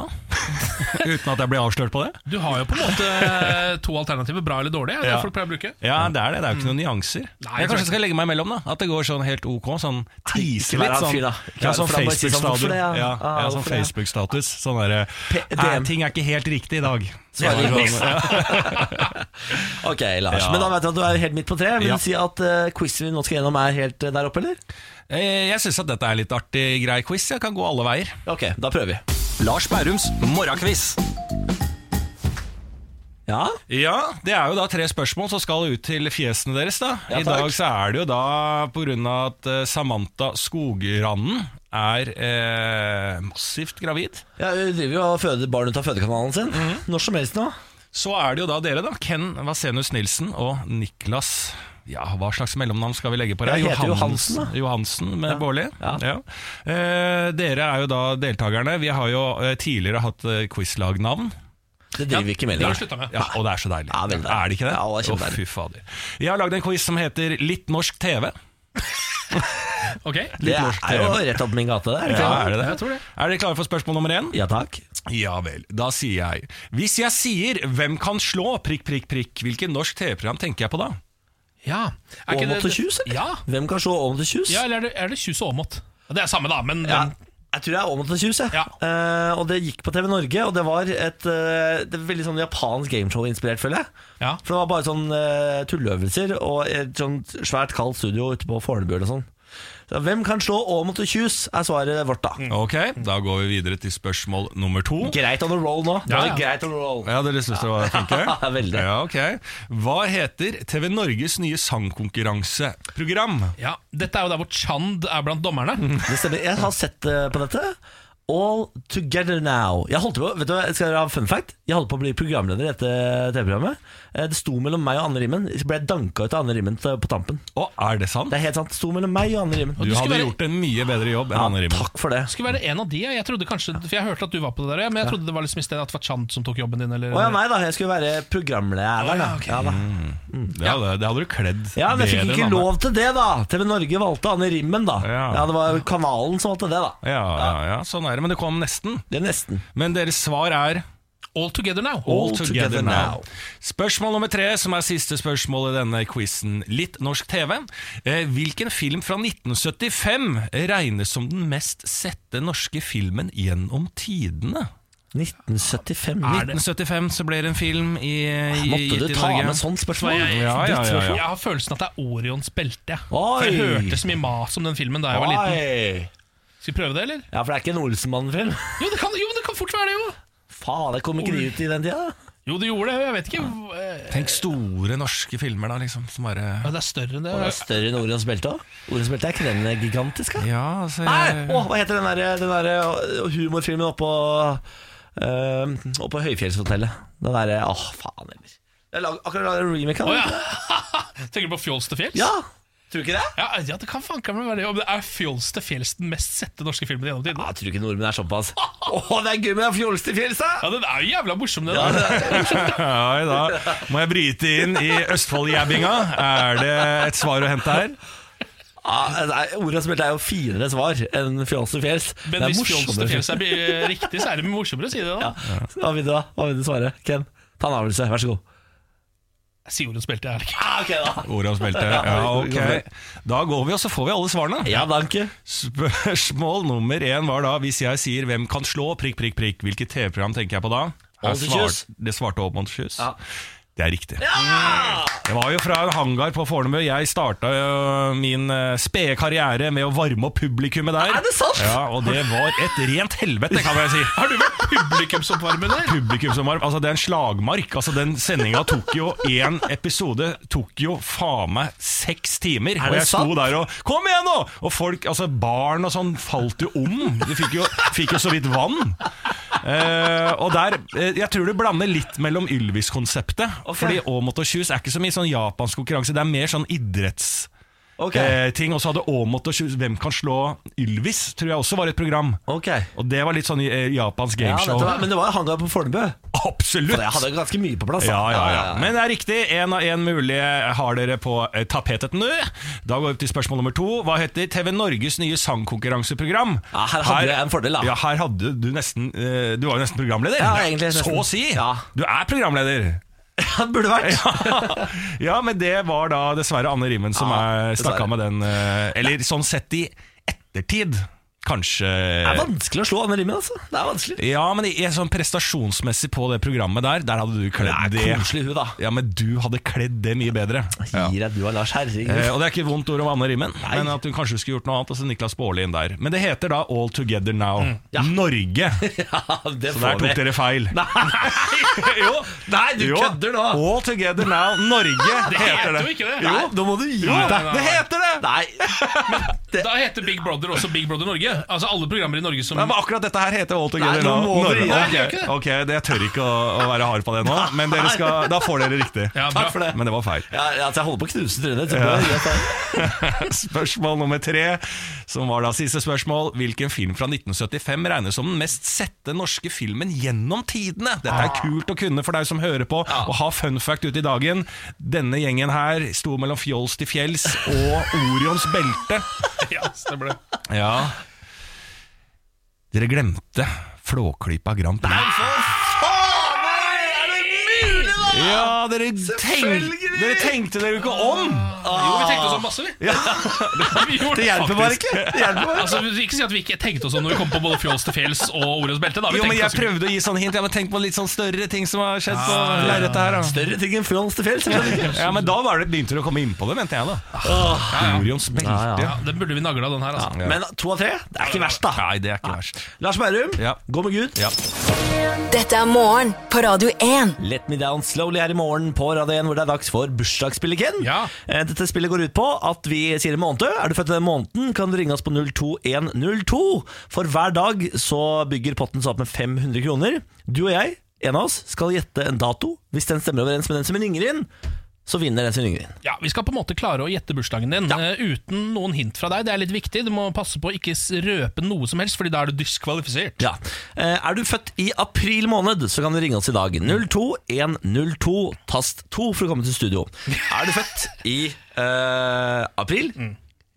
S5: Uten at jeg blir avslørt på det?
S3: Du har jo på en måte eh, to alternativer, bra eller dårlig. Er det
S5: Ja.
S3: det folk pleier å bruke?
S5: Ja, det er det. Det er jo ikke
S2: Mm.
S5: noen nyanser.
S3: Nei,
S5: jeg
S3: tror jeg
S5: kanskje skal legge meg imellom, da. At det går sånn helt ok. Sånn
S2: ikke
S5: tise
S2: vær
S5: litt.
S2: han
S5: Sånn,
S2: fyr, da. Ikke
S5: ja,
S2: vær-
S5: sånn
S2: for da må jeg si sånn, hvorfor
S5: Facebook-status.
S2: det, ja?
S5: Ja,
S2: Ah,
S5: ja, sånn
S2: hvorfor det, ja?
S5: Facebook-status. Sånn derre
S2: P-
S5: «Nei,
S2: DM.
S5: Ting er ikke helt riktig i dag. Sånn-
S2: Svarer Ok, Lars.
S5: Ja.
S2: Men da vet jeg at du er helt midt på tre. Vil
S5: Ja.
S2: du si at uh, quizen vi nå skal gjennom er helt eh, der oppe, eller?
S5: Eh, Jeg syns at dette er litt artig, grei quiz. Jeg kan gå alle veier.
S2: Ok, da prøver vi.
S5: Lars Bærums morgenkviss.
S2: Ja,
S5: Ja, det er jo da tre spørsmål som skal ut til fjesene deres. da
S2: Ja,
S5: I
S2: takk.
S5: dag så er det jo da på grunn av at eh, Samantha Skogranden er eh, massivt gravid.
S2: ja Hun driver jo og føder barn ut av fødekanalen sin.
S5: Mhm.
S2: Når som helst nå.
S5: Så er det jo da dere, da. Ken Vasenus Nilsen og Niklas ja, Hva slags mellomnavn skal vi legge på det?
S2: Jeg heter
S5: Johannes-
S2: Johansen, da.
S5: Johansen med Bårli.
S2: Ja.
S5: Ja. Eh, dere er jo da deltakerne. Vi har jo eh, tidligere hatt eh, quizlagnavn.
S2: Det driver vi ikke med.
S3: Det har
S2: Lars.
S3: vi slutta med.
S5: Ja, og det er så deilig.
S2: Ja, veldig deilig.
S5: Er det ikke det?
S2: Ja, det er
S5: Å,
S2: kjempedeilig.
S5: fy fader. Jeg har lagd en quiz som heter Litt norsk TV.
S3: Ok?
S2: Det
S5: norsk
S2: er jo rett opp min gate der.
S5: Ja,
S2: ikke sant?
S5: er det det?
S3: Jeg tror det.
S5: Er dere klare for spørsmål nummer én?
S2: Ja takk.
S5: Ja vel, da sier jeg Hvis jeg sier 'Hvem kan slå?' prikk, prikk, prikk, hvilket norsk TV-program tenker jeg på da?
S3: Ja. Er ikke
S2: Åmot
S3: det-
S2: og tjus, eller?
S3: Ja.
S2: Hvem kan se Åmot og tjus?
S3: ja, eller er det, er det tjus og åmot? Det er samme, da, men
S2: Ja,
S3: den-
S2: jeg tror det er Åmot og tjus, jeg.
S3: Ja.
S2: Eh, og det gikk på TV Norge, og det var et eh, det er veldig sånn japansk gameshow-inspirert, føler jeg.
S3: ja.
S2: For det var bare sånn eh, tulleøvelser og et sånt svært kaldt studio ute på Fornebu eller sånn. Så, hvem kan slå Åmot og tjus, er svaret vårt,
S3: Mm.
S2: da.
S5: Ok, da går vi videre til spørsmål nummer to.
S2: Greit on a roll nå. Nå er det
S3: Ja, ja.
S2: greit on a roll.
S5: Ja, dere syns det var flinke?
S2: Veldig.
S5: Ja, ok. Hva heter TV Norges nye sangkonkurranseprogram?
S3: ja. Dette er jo der hvor Chand er blant dommerne.
S2: Det stemmer. Jeg har sett eh, på dette. All together now. Jeg holdt på, vet du hva, Skal dere ha en fun fact? Jeg holdt på å bli programleder i dette TV-programmet. Eh, Det sto mellom meg og Anne Rimmen. Så ble jeg danka ut av Anne Rimmen til- på tampen.
S5: Å, er det sant?
S2: Det er helt sant. Det sto mellom meg og Anne Rimmen.
S5: Du
S3: Du skulle
S5: hadde
S3: være-
S5: gjort en mye bedre jobb enn
S2: Ja,
S5: Anne Rimmen.
S2: takk for det.
S3: Skulle være en av de, ja. jeg trodde kanskje For jeg hørte at du var på det der, ja, men jeg trodde det var liksom i stedet at det var Chand som tok jobben din. Eller,
S2: Å ja, nei da. Jeg skulle være programleder. Da. Ja, da.
S5: Det hadde, det hadde du kledd
S2: ja, men jeg
S5: bedre
S2: fikk
S5: enn
S2: ikke
S5: Anne.
S2: lov til det, da. TV Norge valgte Anne Rimmen, da.
S5: Ja.
S2: Ja, det var kanalen som valgte det, da.
S5: Ja, ja, ja, sånn er det. Men det kom nesten.
S2: Det er nesten.
S5: Men deres svar er
S3: All together now.
S5: All together now. Spørsmål nummer tre, som er siste spørsmål i denne quizen. Litt norsk TV. Eh, hvilken film fra 1975 regnes som den mest sette norske filmen gjennom tidene?
S2: 1975.
S3: Er det-
S5: 1975 så ble det en film i, i
S2: Måtte du
S5: gitt i
S2: ta
S5: Norge.
S2: med sånn- sånt
S3: Så
S2: spørsmål?
S3: jeg,
S5: Ja, ja, ja, ja.
S3: Jeg har følelsen at det er Orions belte. jeg.
S2: Oi.
S3: For jeg hørte så mye mas om den filmen da jeg var liten.
S2: Oi.
S3: Skal vi prøve det, eller?
S2: Ja, for det er ikke en Olsenmann-film.
S3: Jo, det kan, jo, men det kan fort være det, jo!
S2: faen, jeg kom ikke de ut i den tida.
S3: Jo, det gjorde det. Jeg vet ikke. hva- eh,
S5: Tenk store norske filmer, da, liksom. Som bare
S3: Ja, det er større enn det.
S2: Det er større enn Orions belte òg. Orions belte er ikke den gigantisk, da?
S5: Ja, altså
S2: Nei!
S5: jeg,
S2: Å, hva heter den der, den der øh, humorfilmen oppå øh, Oppå Høyfjellshotellet? Den derre Å, faen heller. Jeg lag, akkurat laget en remake av
S3: Å
S2: den.
S3: ja. Tenker du på Fjols til fjells?
S2: ja. Tror du ikke det?
S3: Ja, ja, det kan fanken meg være det. Om det er Fjols til fjells den mest sette norske filmen gjennom
S2: Ja,
S3: tidene?
S2: jeg tror ikke nordmenn er såpass. Å, det er gøy med den fjols til fjells, da!
S3: Ja, den er jo jævla morsom, den. der.
S5: ja, da må jeg bryte inn i Østfoldjæbinga. Er det et svar å hente her?
S2: Ja, Ah, nei, Orions belte er jo finere svar enn fjols til fjells.
S3: Men
S2: Det er
S3: hvis Fjols til
S2: morsommere.
S3: fjells er bi- riktig, så er det morsommere å si det, da.
S2: Ja. Hva vil du da? Hva vil du svare? Ken, ta en avgjørelse. Vær så god.
S3: Sigurdens belte er det ikke.
S2: Ah, ok da
S5: Orions belte. Ja, ok. Da går vi, og så får vi alle svarene.
S2: Ja, danke.
S5: Spørsmål nummer én var da Hvis jeg sier 'Hvem kan slå?' prikk, prikk, prikk Hvilket TV-program tenker jeg på da? Her
S2: Monty Shoes.
S5: det svarte også Monty Shoes.
S2: Ja.
S5: Det er riktig. Det var jo fra en hangar på Fornebu. Jeg starta jo min eh, spede karriere med å varme opp publikummet der.
S2: Er det sant?
S5: Ja, Og det var et rent helvete, kan jeg si.
S3: Har du vært publikumsoppvarmer der?
S5: Publikum som var, altså Det er en slagmark. Altså Den sendinga tok jo én episode Tok jo faen meg seks timer.
S2: det
S5: og jeg
S2: sant?
S5: sto der og Kom igjen, nå! Og folk, altså barn og sånn, falt jo om. De fikk jo, fikk jo så vidt vann. Eh, og der eh, Jeg tror du blander litt mellom Ylvis-konseptet.
S2: Ok.
S5: Fordi Åmot og Kjus er ikke så mye sånn japansk konkurranse, det er mer sånn idrettsting.
S2: Ok.
S5: Eh, ting. og så hadde Åmot og Kjus Hvem kan slå Ylvis? tror jeg også var et program.
S2: Ok
S5: Og det var litt sånn eh, japansk
S2: ja,
S5: gameshow.
S2: dette var, Men det var hangar på Fornebu.
S5: Absolutt!
S2: For jeg hadde ganske mye på plass. da.
S5: Ja, ja, ja. Men det er riktig. Én av én mulige har dere på eh, tapetet nå. Da går vi til spørsmål nummer to. Hva heter TV Norges nye sangkonkurranseprogram?
S2: Ja, her hadde jeg en fordel, da.
S5: Ja, her hadde du nesten eh, Du var jo nesten programleder.
S2: Ja, egentlig nesten.
S5: Så å si!
S2: Ja.
S5: Du er programleder.
S2: Det burde vært.
S5: ja, men det var da dessverre Anne Rimmen som
S2: Ja,
S5: er stakk
S2: dessverre.
S5: av med den. eh, Eller sånn sett i ettertid, kanskje.
S2: Det er vanskelig å slå Anne Rimmen, altså. Det er vanskelig.
S5: Ja, men i- i sånn prestasjonsmessig på det programmet der, der hadde du
S2: Det
S5: kledd
S2: er
S5: det.
S2: koselig hun, da.
S5: Ja, men du hadde kledd det mye bedre.
S2: Gir jeg du av Lars
S5: Eh,
S2: Herregud.
S5: og det er ikke et vondt ord om Anne Rimmen, men at hun kanskje skulle gjort noe annet. Og så Niklas Baarli inn der. Men det heter da All Together Now. Norge!
S2: Ja, det
S5: Så der tok dere feil.
S2: Nei, jo. Nei du
S5: Jo,
S2: kødder nå.
S5: All Together Now Norge
S3: Det
S5: heter
S3: heter
S5: det.
S3: jo ikke det.
S2: Jo, nå må du gi
S3: Nei,
S2: deg.
S3: nei,
S5: Det
S3: nei.
S5: heter det!
S2: Nei.
S3: Da heter Big Brother også Big Brother Norge. Altså alle programmer i Norge som
S5: Nei, men akkurat dette her heter All
S2: Nei,
S5: Together
S2: nå
S5: Now
S2: må dere gi
S5: Norge.
S2: deg.
S5: Ok, ok, det- jeg tør ikke å, å være hard på det nå, men dere skal, da får dere riktig.
S3: Ja, bra.
S2: Takk for det.
S5: Men det var feil.
S2: Ja, ja, altså, jeg holder på å knuse trynet. så sånn. det er greit, da.
S5: Spørsmål nummer tre, som var da siste spørsmål. Hvilken film fra 1975 regnes som den mest sette norske filmen gjennom tidene? Dette
S2: Ah.
S5: er kult å kunne for deg som hører på, og ha fun fact ut i dagen. Denne gjengen her sto mellom fjols til fjells og Orions belte.
S3: Ja, stemmer det.
S5: Ja Dere glemte Flåklypa Grand Prix. Nei, for faen! Er det mulig, da?! Ja, dere, tenk,
S2: Selvfølgelig!
S5: dere tenkte dere jo ikke om!
S3: Jo, vi tenkte oss om masse, vi. vi gjorde
S2: Ah. Det hjelper bare ikke. Det hjelper bare.
S3: Altså, ikke si at vi ikke tenkte oss om når vi kom på både Fjols til fjells og Orions belte. Da. Vi
S5: Jo, men
S3: tenkte
S5: jeg
S3: oss om.
S5: prøvde å gi sånne hint. Ja, men tenk på litt sånn større ting som har skjedd på lerretet her. Da.
S2: Større ting enn Fjols til fjells. selvfølgelig.
S5: Ja, men da var det, begynte du å komme innpå det, mente jeg da.
S2: Ah,
S5: Ah, Orions belte.
S3: ja, Den burde vi nagla, den her. Altså.
S5: Ja.
S2: Men to av tre, det er ikke verst, da.
S5: Nei, det er ikke verst.
S2: Lars Bærum,
S5: Ja.
S2: gå med Gud.
S5: Ja.
S1: Dette er morgen på Radio 1.
S2: Let Me Down Slowly her i morgen på Radio 1, hvor det er dags for bursdagsspillet, Ken.
S3: Ja.
S2: Eh, Dette spillet går ut på at vi sier en måned. Er du født i den måneden, kan du ringe oss på 02102. For hver dag så bygger potten seg opp med 500 kroner. Du og jeg, en av oss, skal gjette en dato. Hvis den stemmer overens med den som ringer inn, så vinner den som ringer inn.
S3: Ja, Vi skal på en måte klare å gjette bursdagen din eh, uten noen hint fra deg. Det er litt viktig. Du må passe på å ikke s- røpe noe som helst, Fordi da er du diskvalifisert.
S2: Ja. Eh, Er du født i april måned, så kan du ringe oss i dag. 02102 tast 2 for å komme til studio. Er du født i eh, april,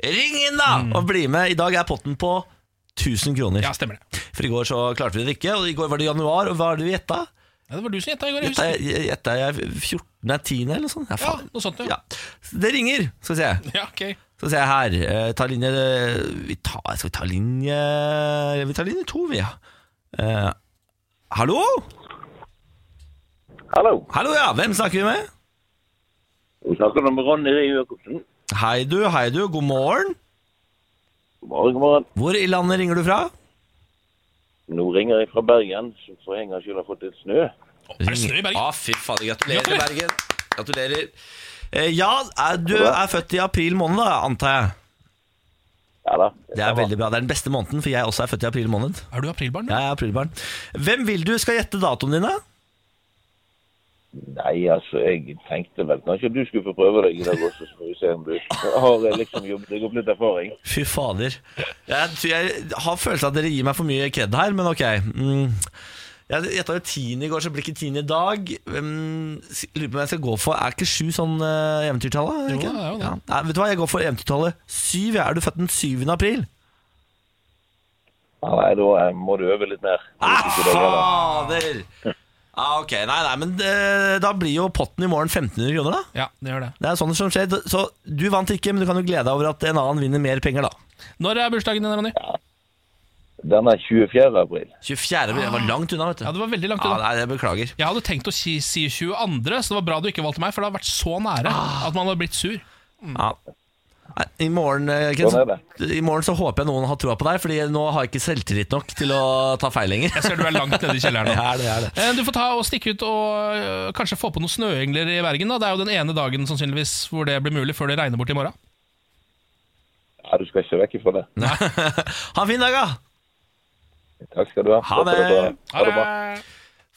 S2: ring inn da og bli med. I dag er potten på 1000 kroner.
S3: Ja, stemmer det.
S2: For i går så klarte vi det ikke, og i går var det januar, og hva er det vi gjetta?
S3: Ja, det var du som gjetta i går. jeg
S2: Gjetta
S3: husker.
S2: jeg gjetta jeg 14. 10. eller noe sånt? Ja,
S3: Ja,
S2: faen.
S3: noe sånt, ja.
S2: Ja. Det ringer, skal vi se.
S3: Ja, ok
S2: Skal vi se her eh, Ta linje vi tar, Skal vi ta linje Vi tar linje to vi ja. Eh, Hallo?
S6: Hallo.
S2: Hallo ja, hvem snakker vi med?
S6: Vi snakker om Ronny Rie Jacobsen.
S2: Hei du, hei du, god morgen
S6: God morgen, god morgen.
S2: Hvor i landet ringer du fra?
S6: Nå ringer jeg fra Bergen, som for en gangs skyld har fått litt snø.
S3: Er det snø i Bergen?
S2: Ja, fy faen. Gratulerer, Bergen. Gratulerer. Eh, Ja, er, du er født i april måned, da, antar jeg.
S6: Ja da.
S2: Det er veldig bra. Det er den beste måneden, for jeg også er født i april måned.
S3: Er du aprilbarn?
S2: Jeg er aprilbarn. Hvem vil du skal gjette datoen dine?
S6: Nei, altså, jeg tenkte vel kanskje du skulle få prøve deg i dag også, så får vi se om du har eh, liksom jobbet deg opp litt erfaring.
S2: Fy fader. Jeg, tror jeg har følelsen av at dere gir meg for mye kred her, men ok. Mm. Jeg gjetta jo tiende i går, så blir ikke tiende i dag. Mm, s- lurer på hva jeg skal gå for. Er ikke sju sånn uh, eventyrtallet? er det
S3: Jo,
S2: ikke?
S3: det er jo
S2: Ja.
S3: det.
S2: Nei, vet du hva, jeg går for eventyrtallet syv. jeg. Er du født den 7. april?
S6: Ja, nei, da eh, må du øve litt mer.
S2: Ah, fader! Ah, ok, nei, nei, men eh, da blir jo potten i morgen 1500 kroner, da.
S3: Ja, det gjør det.
S2: Det er sånn som skjer. Så du vant ikke, men du kan jo glede deg over at en annen vinner mer penger, da.
S3: Når er bursdagen din, Ronny?
S6: Den er 24. april.
S2: 24. april. Jeg var langt unna, vet du.
S3: Ah. Ja, det var veldig langt
S2: Ja,
S3: unna.
S2: nei, jeg beklager.
S3: Jeg hadde tenkt å si, si 22., så det var bra du ikke valgte meg, for det har vært så nære
S2: Ah.
S3: at man har blitt sur.
S2: Ja. Nei, I morgen, eh, Ken,
S6: Sånn er
S2: så, I morgen så håper jeg noen har troa på deg, Fordi nå har jeg ikke selvtillit nok til å ta feil lenger.
S3: Jeg ser du er langt nede i kjelleren nå.
S2: Ja, det er det.
S3: Eh, Du får ta og stikke ut og øh, kanskje få på noen snøengler i Bergen. da Det er jo den ene dagen sannsynligvis hvor det blir mulig, før det regner bort i morgen.
S6: Ja, du skal ikke vekk ifra det.
S2: Ha en fin dag, da!
S6: Takk skal du ha.
S2: Ha
S6: Takk skal dere
S2: det.
S6: Ha det bra.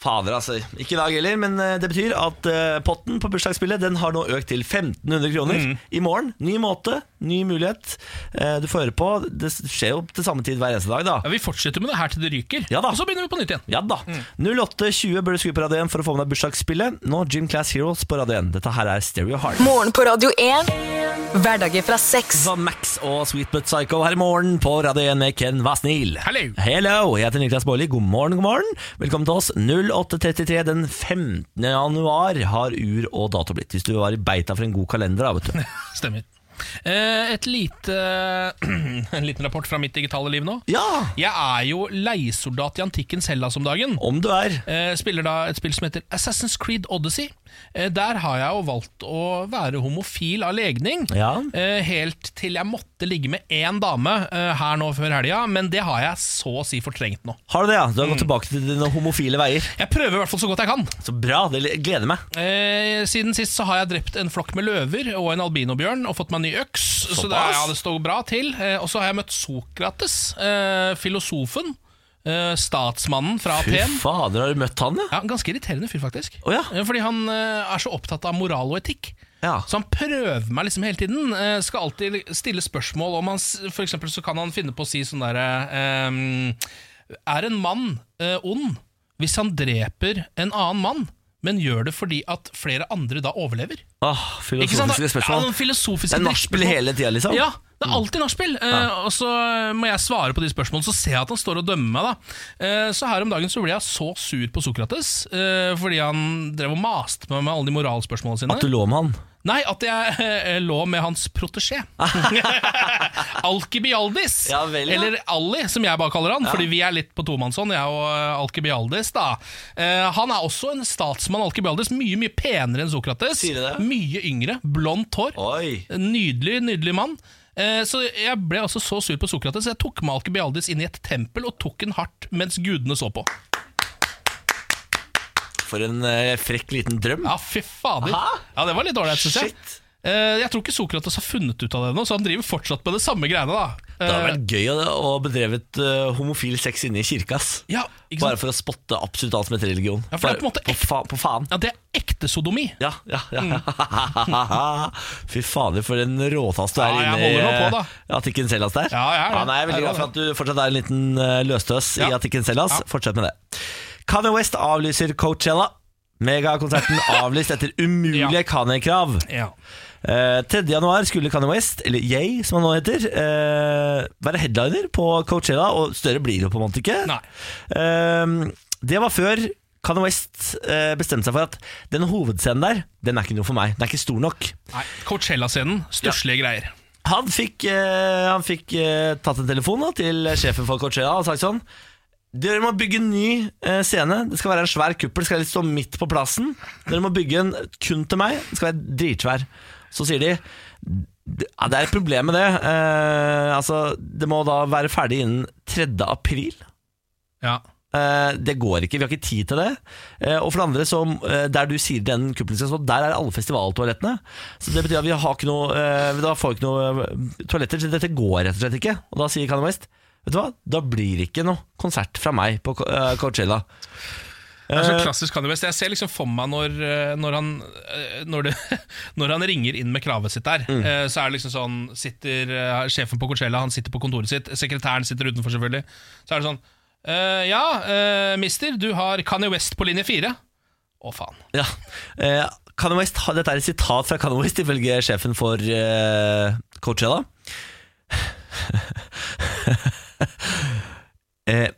S2: Fader, altså. Ikke i dag heller, men eh, det betyr at eh, potten på bursdagsspillet Den har nå økt til 1500 kroner. I morgen, ny måte, ny mulighet. Eh, Du får høre på. Det skjer jo til samme tid hver eneste dag, da.
S3: Ja, vi fortsetter med det her til det ryker,
S2: Ja da.
S3: og så begynner vi på nytt igjen.
S2: Ja da. 08.20 bør du skru på Radio 1 for å få med deg bursdagsspillet. Nå Gym Class Heroes på Radio 1. Dette her er Stereo Heart.
S1: Morgen på Radio 1. Hverdager fra seks.
S2: Van Max og Sweet But Psycho her i morgen på Radio 1 med Ken Vasnil.
S3: Hello.
S2: Hello, jeg heter Niklas Baarli. God morgen, god morgen. Velkommen til oss. 08.33 den 15. januar har ur og dato blitt. Hvis du var i beita for en god kalender, da, vet du.
S3: Stemmer. Eh, Et lite, en liten rapport fra mitt digitale liv nå.
S2: Ja,
S3: Jeg er jo leiesoldat i antikkens Hellas om dagen.
S2: om du er.
S3: Eh, Spiller da et spill som heter Assassin's Creed Odyssey. Eh, Der har jeg jo valgt å være homofil av legning.
S2: Ja.
S3: Eh, Helt til jeg måtte ligge med én dame eh, her nå før helga, men det har jeg så å si fortrengt nå.
S2: Har du det, ja? Du
S3: Mm.
S2: har gått tilbake til dine homofile veier.
S3: Jeg prøver i hvert fall så godt jeg kan.
S2: Så bra, det gleder meg.
S3: Eh, siden sist så har jeg drept en flokk med løver og en albinobjørn og fått meg en ny øks. Så det,
S2: Såpass?
S3: ja, det står bra til. Eh, og så har jeg møtt Sokrates, eh, filosofen, eh, statsmannen fra
S2: Fy
S3: Aten.
S2: fader, har du møtt han, ja?
S3: Ja, Ganske irriterende fyr, faktisk.
S2: Å ja.
S3: Eh, Fordi han eh, er så opptatt av moral og etikk.
S2: Ja.
S3: Så han prøver meg liksom hele tiden. Eh, skal alltid stille spørsmål om han s- For eksempel så kan han finne på å si sånn derre eh, Er en mann eh, ond hvis han dreper en annen mann, men gjør det fordi at flere andre da overlever?
S2: Åh,
S3: Ikke sant?
S2: filosofiske
S3: Ja,
S2: spørsmål.
S3: noen filosofiske
S2: Det er nachspiel
S3: drittspørsmål.
S2: hele tida, liksom?
S3: Ja, det er alltid nachspiel. Eh, og så må jeg svare på de spørsmålene, så ser jeg at han står og dømmer meg. da. Eh, så her om dagen så ble jeg så sur på Sokrates, eh, fordi han drev og maste meg med alle de moralspørsmålene sine.
S2: At du lå med han?
S3: Nei, at jeg eh, lå med hans protesjé. Alkibialdis.
S2: Ja vel, ja.
S3: Eller Ali, som jeg bare kaller han, fordi vi er litt på tomannshånd, jeg og eh, Alkibialdis. da. Eh, han er også en statsmann, Alkibialdis. Mye mye penere enn Sokrates.
S2: Sier du det?
S3: Mye yngre. Blondt hår.
S2: Oi.
S3: Nydelig, nydelig mann. Eh, Så Jeg ble altså så sur på Sokrates, jeg tok med Alkibialdis inn i et tempel og tok den hardt mens gudene så på.
S2: For en eh, frekk liten drøm.
S3: Ja, fy fader.
S2: Hæ?
S3: Ja, Det var litt ålreit, syns jeg.
S2: Shit.
S3: Eh, Jeg tror ikke Sokrates har funnet ut av det ennå, så han driver fortsatt med det samme greiene. da
S2: Det hadde
S3: Eh,
S2: vært gøy å- å bedrevet eh, homofil sex inne i kirka. ass.
S3: Ja, ikke
S2: Bare
S3: sant?
S2: for å spotte absolutt alt som heter religion.
S3: Ja, for det er på en måte
S2: på,
S3: ek-
S2: fa på faen.
S3: Ja, Det er ekte sodomi.
S2: Ja, ja, ja. Fy fader, for en råtass du er
S3: Mm. Ja, jeg
S2: inne i
S3: holder nå på, da.
S2: eh, Attiken Sellas der.
S3: Ja, jeg er det.
S2: nei, jeg er veldig
S3: Jeg er
S2: glad for at du fortsatt er en liten eh, løstøs i
S3: Ja.
S2: Attiken Sellas.
S3: Ja.
S2: Fortsett med det. Kanye West avlyser Coachella. Megakonserten avlyst etter umulige Kanye-krav.
S3: Ja.
S2: Eh, 3. januar skulle Kanye West, eller Yay som han nå heter, eh, være headliner på Coachella, og større blir det jo på en måte ikke.
S3: Nei.
S2: Eh, det var før Kanye West eh, bestemte seg for at den hovedscenen der, den er ikke noe for meg. Den er ikke stor nok.
S3: Nei, Coachella-scenen, stusslige greier.
S2: Han fikk, eh, han fikk eh, tatt en telefon da, til sjefen for Coachella og sagt sånn dere må bygge en ny eh, scene. Det skal være en svær kuppel. Det skal stå midt på plassen. Dere må bygge en kun til meg. Den skal være dritsvær. Så sier de ja, Det er et problem med det. Eh, altså, det må da være ferdig innen 3. april.
S3: Ja.
S2: Eh, Det går ikke, vi har ikke tid til det. Eh, Og for det andre, som, eh, der du sier den kuppelen skal stå, der er alle festivaltoalettene. Så det betyr at vi har ikke noe, eh, da får vi ikke noe eh, toaletter, så dette går rett og slett ikke. Og da sier Kanye West, vet du hva, da blir det ikke noe konsert fra meg på Co- eh, Coachella.
S3: Det er så klassisk Kanye West. Jeg ser liksom for meg når, eh, når, han, eh, når, det, når han ringer inn med kravet sitt der, eh, så er det liksom sånn sitter, eh, Sjefen på Coachella han sitter på kontoret sitt, sekretæren sitter utenfor, selvfølgelig. Så er det sånn eh, Ja, eh, mister, du har Kanye West på linje fire. Å, faen.
S2: Ja. Eh, Kanye West, har- dette er et sitat fra Kanye West ifølge sjefen for eh, Coachella. eh,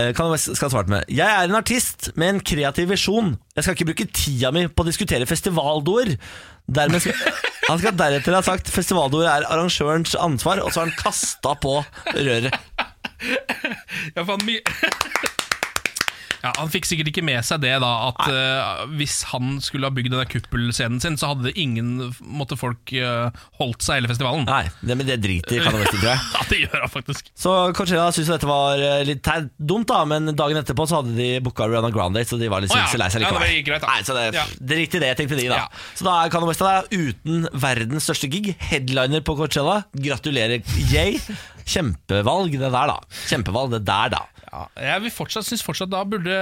S2: eh, Kanye West skal ha svart med Jeg er en artist med en kreativ visjon. Jeg skal ikke bruke tida mi på å diskutere festivaldoer. Dermed skal han skal deretter ha sagt festivaldoer er arrangørens ansvar, og så har han kasta på røret.
S3: Ja, faen, my ja, Han fikk sikkert ikke med seg det, da. At eh, hvis han skulle ha bygd denne kuppelscenen sin, så hadde det ingen Måtte folk eh, holdt seg hele festivalen.
S2: Nei, det, men det driter Kanye West i, tror jeg.
S3: Ja, det gjør han faktisk.
S2: Så Coachella syntes jo dette var eh, litt teit- dumt, da men dagen etterpå så hadde de booka Rihanna Grande, så de var litt
S3: Å ja.
S2: så lei seg
S3: Ja, det
S2: likevel.
S3: var greit, da.
S2: Nei, så det,
S3: Ja.
S2: det er riktig det, tenkte de, da.
S3: Ja.
S2: Så da er Kanye West da uten verdens største gig, headliner på Coachella. Gratulerer, yay. Kjempevalg, det der, da. Kjempevalg, det der, da.
S3: Ja, jeg vil fortsatt, synes fortsatt da burde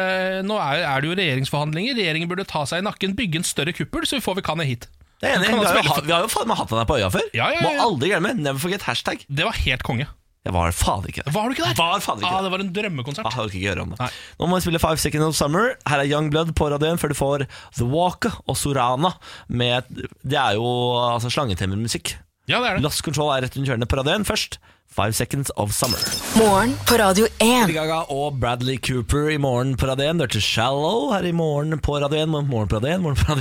S3: Nå er, er det jo regjeringsforhandlinger. Regjeringen burde ta seg i nakken, bygge en større kuppel, så vi får vi Kanye hit.
S2: Det er jeg enig.
S3: Kan
S2: i. Vi har
S3: han
S2: jo,
S3: spille
S2: ha-
S3: for-
S2: vi har jo faen meg hatt han her på øya før.
S3: Ja, ja, ja, ja.
S2: Må aldri glemme. Never forget hashtag.
S3: Det var helt konge.
S2: Jeg var faen ikke der.
S3: Var du ikke der?
S2: Var faen ikke
S3: ah,
S2: der.
S3: det var en drømmekonsert.
S2: Ah, jeg orker ikke høre om det.
S3: Nei.
S2: Nå må vi spille Five Seconds of Summer. Her er Young Blood på radioen før du får The Walk og Sorana. Med, det er jo altså, slangetemmermusikk.
S3: Ja, det er det.
S2: Lost Control er rett rundt hjørnet på radioen først. Five Seconds of Summer.
S1: Morgen på Radio 1.
S2: Lady Gaga og Bradley Cooper i morgen på radioen. Dirty Shallow her i morgen på radioen. Morgen på radioen, morgen på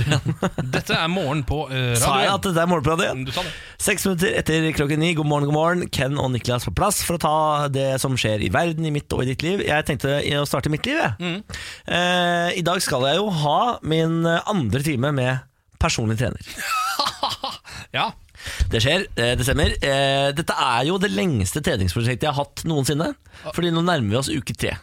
S2: radioen.
S3: Dette er morgen på eh,
S2: Sa jeg at
S3: radioen.
S2: det er morgen på radioen?
S3: Du sa det.
S2: Seks minutter etter klokken ni, god morgen, god morgen. Ken og Niklas på plass for å ta det som skjer i verden, i mitt og i ditt liv. Jeg tenkte å starte mitt liv, jeg. Eh, I dag skal jeg jo ha min andre time med personlig trener.
S3: Ja.
S2: Det skjer, eh, det stemmer. Eh, dette er jo det lengste treningsprosjektet jeg har hatt noensinne. Fordi nå nærmer vi oss uke tre.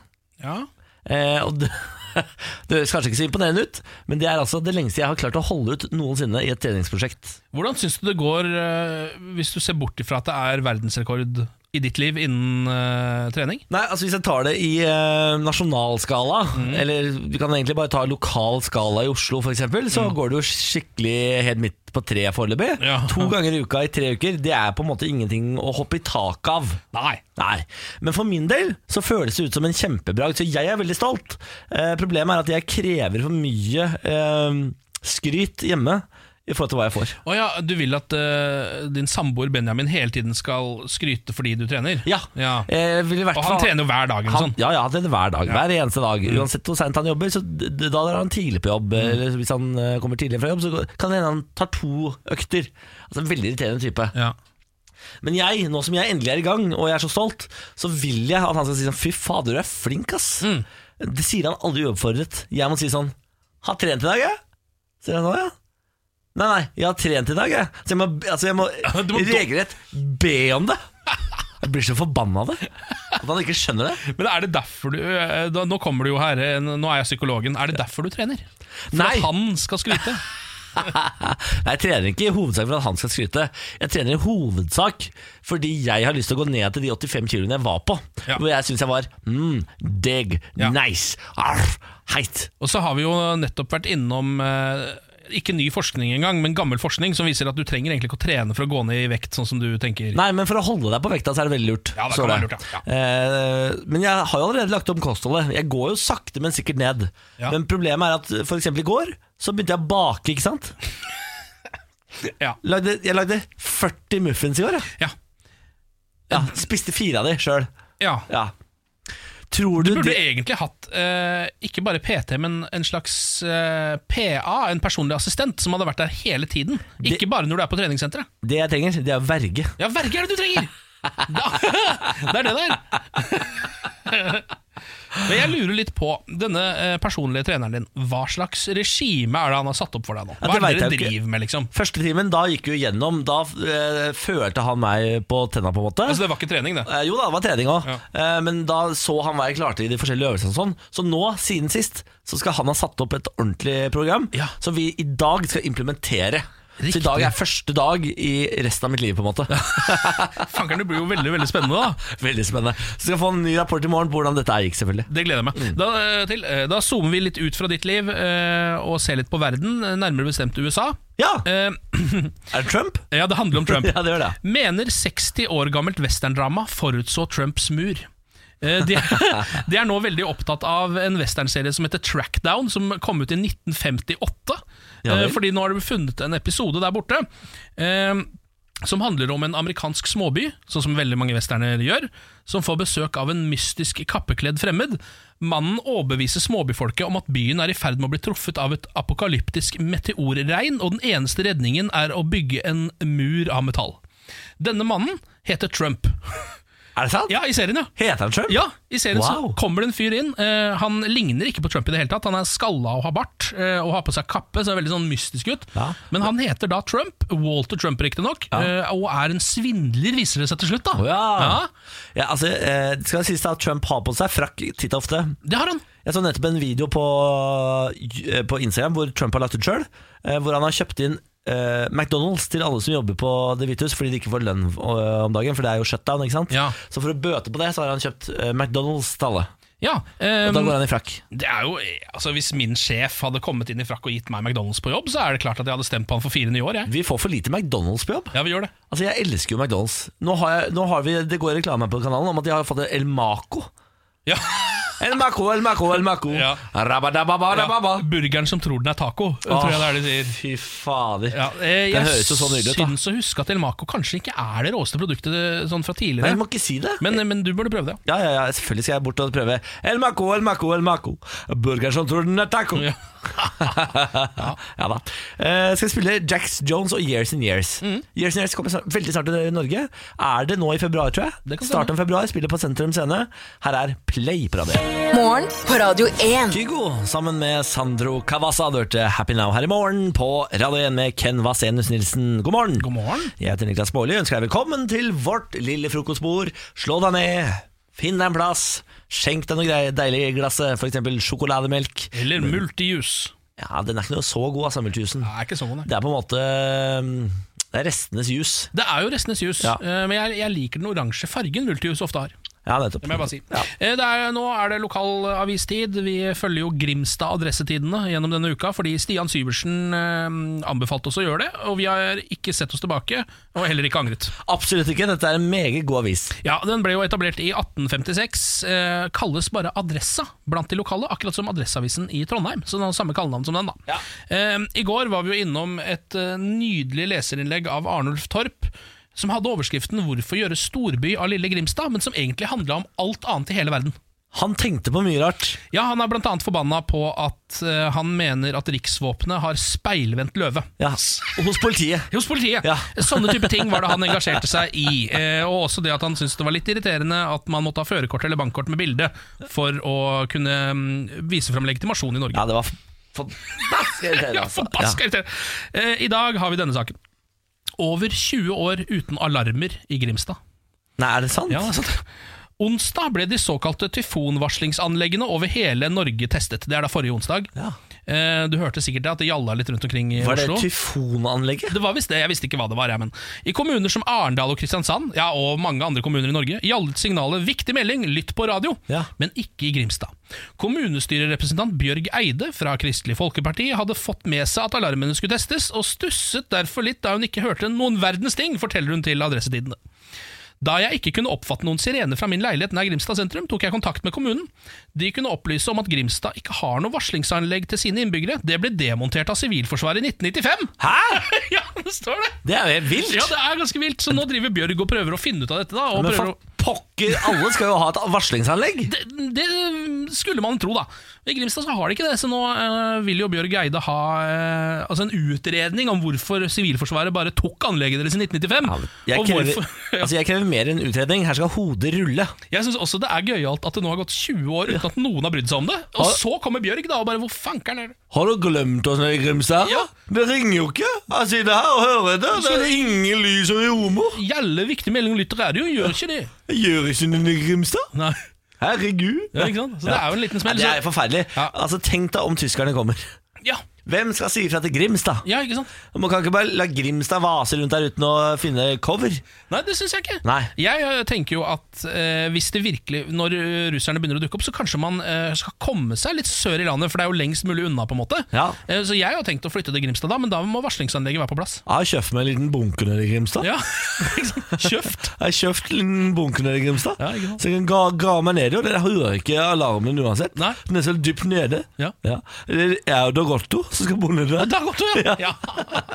S3: ja.
S2: Eh, og det, det høres kanskje ikke så imponerende ut, men det er altså det lengste jeg har klart å holde ut noensinne i et treningsprosjekt.
S3: Hvordan syns du det går eh, hvis du ser bort ifra at det er verdensrekord i ditt liv innen eh, trening?
S2: Nei, altså Hvis jeg tar det i eh, nasjonal skala,
S3: Mm.
S2: eller vi kan egentlig bare ta lokal skala i Oslo f.eks., så går det jo skikkelig helt midt på treet foreløpig.
S3: Mm. Ja.
S2: To ganger i uka i tre uker, det er på en måte ingenting å hoppe i taket av.
S3: Nei.
S2: Nei, men for min del så føles det ut som en kjempebragd, så jeg er veldig stolt. Eh, problemet er at jeg krever for mye eh, skryt hjemme i forhold til hva jeg får.
S3: Å ja, du vil at eh, din samboer Benjamin hele tiden skal skryte fordi du trener?
S2: Ja,
S3: ja.
S2: Eh, vil i hvert
S3: Og han
S2: fall-
S3: trener jo hver dag, eller
S2: Han,
S3: sånn?
S2: ja, ja, det er hver dag. Hver eneste dag.
S3: Mm.
S2: Uansett hvor seint han jobber, så d- d- da drar han tidlig på jobb. Eller hvis han eh, kommer tidlig fra jobb, så går- kan det hende han tar to økter. Altså En veldig irriterende type.
S3: Ja.
S2: Men jeg, nå som jeg endelig er i gang, og jeg er så stolt, så vil jeg at han skal si sånn Fy fader, du er flink, ass.
S3: Mm.
S2: Det sier han aldri uoppfordret. Jeg må si sånn Har trent i dag, jeg. Sier han sånn, ja. Nei, nei, jeg har trent i dag, jeg. Så jeg må, altså, jeg må
S3: du må do-
S2: regelrett be om det. Jeg blir så forbanna av det. At han ikke skjønner det.
S3: Men er det derfor du eh, da, Nå kommer du jo her, eh, nå er jeg psykologen. Er det derfor du trener? For
S2: Nei.
S3: at han skal skryte?
S2: Nei, Jeg trener ikke i hovedsak for at han skal skryte. Jeg trener i hovedsak fordi jeg har lyst til å gå ned til de 85 kiloene jeg var på.
S3: Ja.
S2: Hvor jeg syns jeg var mm, digg,
S3: Ja.
S2: nice, arr, heit.
S3: Og så har vi jo nettopp vært innom eh, ikke ny forskning engang, men gammel forskning som viser at du trenger egentlig ikke å trene for å gå ned i vekt, sånn som du tenker.
S2: Nei, men for å holde deg på vekta så er det veldig lurt.
S3: Ja, det
S2: Så
S3: kan være lurt, ja.
S2: Eh, men jeg har jo allerede lagt om kostholdet. Jeg går jo sakte, men sikkert ned.
S3: Ja.
S2: Men problemet er at for eksempel i går så begynte jeg å bake, ikke sant?
S3: Ja.
S2: Lagde, jeg lagde 40 muffins i går. Jeg.
S3: Ja.
S2: Ja, spiste fire av de sjøl.
S3: ja.
S2: Ja. Tror du,
S3: Burde
S2: det
S3: egentlig hatt eh, ikke bare PT, men en slags eh, PA, en personlig assistent, som hadde vært der hele tiden. Ikke bare når du er på treningssenteret.
S2: Det jeg trenger, det er verge.
S3: Ja, verge er det du trenger! Da, det er det der. Men jeg lurer litt på denne eh, personlige treneren din. Hva slags regime er det han har satt opp for deg nå?
S2: Ja, det
S3: Hva er det
S2: vet
S3: dere
S2: jeg jo ikke.
S3: driver med, liksom?
S2: Første timen, da gikk vi jo gjennom. Da eh, følte han meg på tenna, på en måte.
S3: Altså, det var ikke trening, det.
S2: Eh, jo da, det var trening òg,
S3: Ja.
S2: eh, men da så han hva jeg klarte i de forskjellige øvelsene. og Sånn. Så nå, siden sist, så skal han ha satt opp et ordentlig program
S3: Ja.
S2: som vi i dag skal implementere. Så i dag er første dag i resten av mitt liv, på en måte.
S3: Fankeren, det blir jo veldig, veldig spennende, da.
S2: Veldig spennende. Så skal jeg få en ny rapport i morgen på hvordan dette her gikk, selvfølgelig.
S3: Det gleder jeg meg
S2: Mm.
S3: da, eh, til. Eh, Da zoomer vi litt ut fra ditt liv eh, og ser litt på verden, eh, nærmere bestemt USA.
S2: Ja,
S3: Eh,
S2: er det Trump?
S3: ja, det handler om Trump.
S2: Ja, det gjør det.
S3: Mener 60 år gammelt westerndrama forutså Trumps mur. Eh, De, de er nå veldig opptatt av en westernserie som heter Trackdown, som kom ut i 1958.
S2: Ja vel.
S3: Eh, Fordi nå har det funnet en episode der borte. eh, Som handler om en amerikansk småby, sånn som veldig mange westerner gjør, som får besøk av en mystisk kappekledd fremmed. Mannen overbeviser småbyfolket om at byen er i ferd med å bli truffet av et apokalyptisk meteorregn, og den eneste redningen er å bygge en mur av metall. Denne mannen heter Trump.
S2: Er det sant?
S3: Ja, i serien, ja.
S2: Heter han Trump?
S3: Ja, I serien så
S2: Wow.
S3: kommer det en fyr inn. Eh, han ligner ikke på Trump i det hele tatt. Han er skalla og har bart eh, og har på seg kappe, så er veldig sånn mystisk ut.
S2: Ja.
S3: Men han heter da Trump, Walter Trump riktignok, eh, og er en svindler, viser det seg til slutt. da
S2: Å ja.
S3: Ja,
S2: Ja, altså, eh, det skal sies da at Trump har på seg frakk titt og ofte.
S3: Det har han.
S2: Jeg så nettopp en video på, eh, på Instagram hvor Trump har lagt ut sjøl, hvor han har kjøpt inn eh, McDonald's til alle som jobber på Det hvite hus, fordi de ikke får lønn eh, om dagen, for det er jo shutdown. ikke sant?
S3: Ja.
S2: Så for å bøte på det, så har han kjøpt eh, McDonald's til alle.
S3: Ja,
S2: Og da
S3: ehm,
S2: går han i frakk.
S3: det er jo, eh, altså Hvis min sjef hadde kommet inn i frakk og gitt meg McDonald's på jobb, så er det klart at jeg hadde stemt på han for fire nye år. Jeg.
S2: Vi får for lite McDonald's på jobb.
S3: Ja, vi gjør det.
S2: Altså, Jeg elsker jo McDonald's. Nå har, jeg, nå har vi, Det går reklame på kanalen om at de har fått El Maco.
S3: Ja.
S2: El Maco, El Maco, El Maco.
S3: Ja.
S2: Rabadababababa.
S3: Burgeren som tror den er taco, tror jeg det er de sier.
S2: Fy fader.
S3: Ja, eh,
S2: Den høres jo så nydelig ut,
S3: Jeg
S2: da.
S3: syns å huske at El Maco kanskje ikke er det råeste produktet eh, sånn fra
S2: Nei,
S3: tidligere.
S2: du må ikke si det.
S3: Men, eh, men du burde prøve det.
S2: ja, ja, ja, selvfølgelig skal jeg bort og prøve El Maco, El Maco, El Maco. Burger som tror den er taco.
S3: Ja.
S2: Ja, da. Eh, skal spille Jacks Jones og Years and Years.
S3: Mm.
S2: Years and Years kommer snart, veldig snart til Norge. Er det nå i februar, tror
S3: Det
S2: jeg.
S3: kan
S2: Start av februar, spiller på Sentrum Scene. Her er Play på radio.
S1: Morgen på Radio 1.
S2: Kygo sammen med Sandro Cavazza Du hørte Happy Now her i morgen på Radio 1 med Ken Vasenus Nilsen. God morgen.
S3: God morgen.
S2: Jeg heter Niklas Baarli ønsker deg velkommen til vårt lille frokostbord. Slå deg ned, finn deg en plass, skjenk deg noe grei- deilig i glasset, f.eks. sjokolademelk.
S3: Eller Multijus.
S2: Ja, Den er ikke noe så god, altså, multijusen.
S3: Det er ikke så god, nei.
S2: Det er på en måte mm, Det er restenes jus.
S3: Det er jo restenes jus,
S2: Ja.
S3: eh, men jeg, jeg liker den oransje fargen Multijus ofte har.
S2: Ja, nettopp.
S3: Det må jeg bare si.
S2: Ja.
S3: Eh, Det er, nå er det lokalavistid. Vi følger jo Grimstad-adressetidene gjennom denne uka, fordi Stian Syversen eh, anbefalte oss å gjøre det, og vi har ikke sett oss tilbake, og heller ikke angret.
S2: Absolutt ikke. Dette er en meget god avis.
S3: Ja, Den ble jo etablert i 1856. Eh, kalles bare Adressa blant de lokale, akkurat som Adresseavisen i Trondheim. Så den har samme kallenavn som den, da. Eh, I går var vi jo innom et eh, nydelig leserinnlegg av Arnulf Torp. Som hadde overskriften 'Hvorfor gjøre storby av lille Grimstad', men som egentlig handla om alt annet i hele verden.
S2: Han tenkte på mye rart.
S3: Ja, Han er bl.a. forbanna på at eh, han mener at riksvåpenet har speilvendt løve.
S2: Ja, Hos politiet.
S3: Hos politiet.
S2: Ja.
S3: Sånne type ting var det han engasjerte seg i. Eh, og også det at han syntes det var litt irriterende at man måtte ha førerkort eller bankkort med bilde for å kunne mm, vise fram legitimasjon i Norge.
S2: Ja, det var forbaska irriterende.
S3: Ja,
S2: altså.
S3: forbaska irriterende! Eh, I dag har vi denne saken. Over 20 år uten alarmer i Grimstad.
S2: Nei, er det sant?
S3: Ja, det er sant. Onsdag ble de såkalte tyfonvarslingsanleggene over hele Norge testet. Det er da forrige onsdag.
S2: Ja.
S3: Eh, Du hørte sikkert det at det gjalla litt rundt omkring i
S2: Var det
S3: Oslo.
S2: tyfonanlegget?
S3: Det var visst det, jeg visste ikke hva det var. Jeg, men. I kommuner som Arendal og Kristiansand, ja, og mange andre kommuner i Norge, gjaldt signalet 'viktig melding, lytt på radio',
S2: Ja.
S3: men ikke i Grimstad. Kommunestyrerepresentant Bjørg Eide fra Kristelig Folkeparti hadde fått med seg at alarmene skulle testes, og stusset derfor litt da hun ikke hørte noen verdens ting, forteller hun til Adressetidene. Da jeg ikke kunne oppfatte noen sirene fra min leilighet nær Grimstad sentrum, tok jeg kontakt med kommunen. De kunne opplyse om at Grimstad ikke har noe varslingsanlegg til sine innbyggere. Det ble demontert av Sivilforsvaret i 1995!
S2: Hæ?!
S3: ja, det står det!
S2: Det er jo helt vilt!
S3: Ja, det er ganske vilt. Så nå driver Bjørg og prøver å finne ut av dette. da og
S2: Men
S3: prøver å...
S2: fatt- pokker! Alle skal jo ha et varslingsanlegg.
S3: det, det mm, skulle man tro, da. I Grimstad så har de ikke det, så nå eh, vil jo Bjørg Eide ha eh, altså en utredning om hvorfor Sivilforsvaret bare tok anlegget deres i 1995.
S2: Jeg
S3: og
S2: krever,
S3: hvorfor, ja.
S2: altså jeg krever mer enn utredning. Her skal hodet rulle.
S3: Jeg syns også det er gøyalt at det nå har gått 20 år uten at noen har brydd seg om det. Og
S2: Har-
S3: så kommer Bjørg, da, og bare hvor fankeren er det?
S2: Har du glemt oss nede i Grimstad?
S3: Ja.
S2: Det ringer jo ikke. Jeg sitter her og hører det. Det
S3: Så-
S2: er ingen lys og humor.
S3: Gjelle viktig melding om lytter er det jo, gjør ikke det?
S2: Jeg gjør ikke noe i Grimstad.
S3: Nei,
S2: Herregud.
S3: ja, ikke sant? Så det er jo en liten
S2: Ja,
S3: smell.
S2: det er
S3: Så,
S2: forferdelig.
S3: Ja.
S2: Altså, tenk deg om tyskerne kommer.
S3: ja,
S2: Hvem skal si ifra til Grimstad?
S3: ja, ikke sant?
S2: Man kan ikke bare la Grimstad vase rundt der uten å finne cover.
S3: Nei, det syns jeg ikke.
S2: Nei.
S3: Jeg eh, tenker jo at eh, hvis det virkelig Når eh, russerne begynner å dukke opp, så kanskje man eh, skal komme seg litt sør i landet, for det er jo lengst mulig unna, på en måte.
S2: Ja.
S3: Eh, så jeg har jo tenkt å flytte til Grimstad da, men da må varslingsanlegget være på plass.
S2: Jeg har kjøpt meg en liten bunke nede i Grimstad.
S3: Ja, ikke sant? Kjøft.
S2: Jeg har kjøpt en liten bunke nede i Grimstad,
S3: Ja, ikke sant.
S2: så jeg kan gra, gra meg ned i, og dere hører ikke alarmen uansett.
S3: Nei.
S2: Den er så dypt nede.
S3: Ja.
S2: Det er jo Dagotto som skal bo nedi der.
S3: Da går det, ja. ja.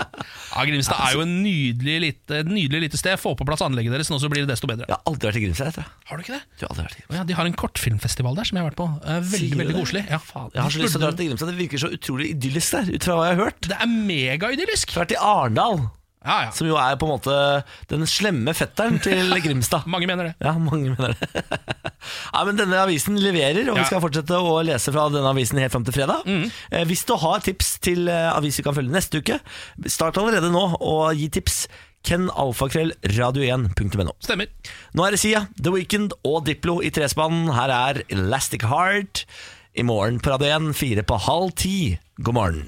S3: ja Grimstad er jo en nydelig lite, et nydelig lite sted. Få på plass anlegget deres nå, så blir det desto bedre.
S2: Jeg har aldri vært i Grimstad, vet du.
S3: Har du ikke det?
S2: Jeg har aldri vært i Grimstad.
S3: Å Ja, de har en kortfilmfestival der som jeg har vært på. Eh,
S2: Sier
S3: Veldig,
S2: du
S3: veldig
S2: det?
S3: koselig. Ja, faen.
S2: Jeg har så lyst til å dra til Grimstad. Det virker så utrolig idyllisk der, ut fra hva jeg har hørt.
S3: Det er megaidyllisk!
S2: Jeg har vært i Arendal,
S3: Ja, ja.
S2: som jo er på en måte den slemme fetteren til Grimstad.
S3: Mange mener det.
S2: Ja, mange mener det. Nei, men denne avisen leverer, og
S3: Ja.
S2: vi skal fortsette å lese fra denne avisen helt fram til fredag. Eh, hvis du har tips til eh, avis vi kan følge neste uke, start allerede nå og gi tips. Ken alfakrøll radio1.no.
S3: Stemmer.
S2: Nå er det Sia, The Weekend og Diplo i trespannen. Her er Elastic Heart. I morgen på Radio 1, fire på halv ti. God morgen.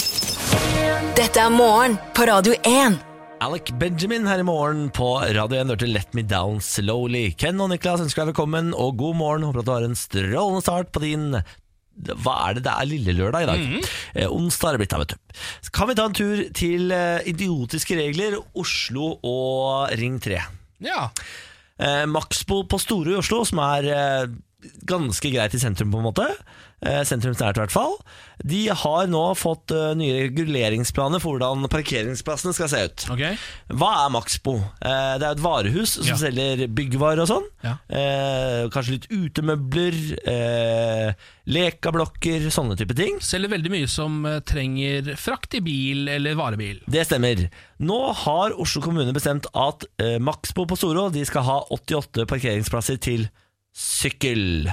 S1: Dette er morgen på Radio 1.
S2: Alec Benjamin her i morgen på Radio 1 hørte Let Me Down Slowly. Ken og Niklas ønsker deg velkommen og god morgen. Håper at du har en strålende start på din Hva er det det er lille lørdag i dag? Eh, onsdag er det blitt, da, vet du. Kan vi ta en tur til eh, idiotiske regler, Oslo og Ring 3?
S3: Ja.
S2: Eh, Maxbo på Storø i Oslo, som er eh, ganske greit i sentrum, på en måte. Eh, sentrumsnært, i hvert fall. De har nå fått eh, nye reguleringsplaner for hvordan parkeringsplassene skal se ut.
S3: Ok.
S2: Hva er Maxbo? Eh, det er et varehus som
S3: Ja.
S2: selger byggvarer og sånn.
S3: Ja.
S2: Eh, kanskje litt utemøbler, eh, lekablokker, sånne type ting.
S3: Selger veldig mye som eh, trenger frakt i bil eller varebil.
S2: Det stemmer. Nå har Oslo kommune bestemt at eh, Maxbo på Storå de skal ha 88 parkeringsplasser til sykkel.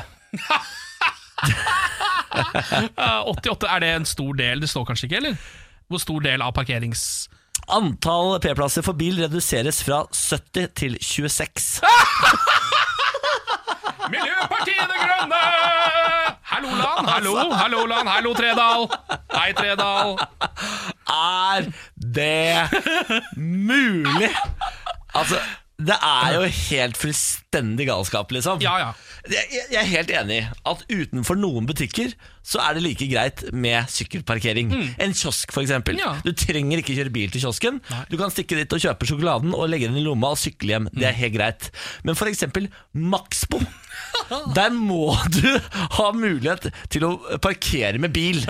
S3: Eh, 88, er det en stor del? Det står kanskje ikke, eller? Hvor stor del av parkerings...
S2: Antall P-plasser for bil reduseres fra 70 til 26.
S3: Miljøpartiet De Grønne! Hallo, land! Hallo, hallo, land! Hallo, Tredal! Hei, Tredal!
S2: Er det mulig? Altså, det er jo helt fullstendig galskap, liksom.
S3: Ja, ja.
S2: Jeg, jeg- jeg er helt enig i at utenfor noen butikker så er det like greit med sykkelparkering. En kiosk, for eksempel.
S3: Ja.
S2: Du trenger ikke kjøre bil til kiosken. Du kan stikke dit og kjøpe sjokoladen og legge den i lomma og sykle hjem. Det er helt greit. Men for eksempel Maxbo. Der må du ha mulighet til å parkere med bil.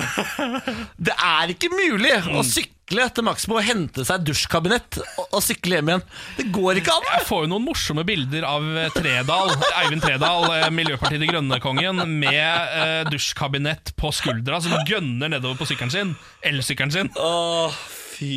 S2: Det er ikke mulig å sykle til Maxbo og hente seg et dusjkabinett og, og sykle hjem igjen. Det går ikke an!
S3: Jeg får jo noen morsomme bilder av eh, Tredal, Eivind Tredal, eh, Miljøpartiet De Grønne-kongen, med eh, dusjkabinett på skuldra, som gønner nedover på sykkelen sin. Elsykkelen sin.
S2: Å, fy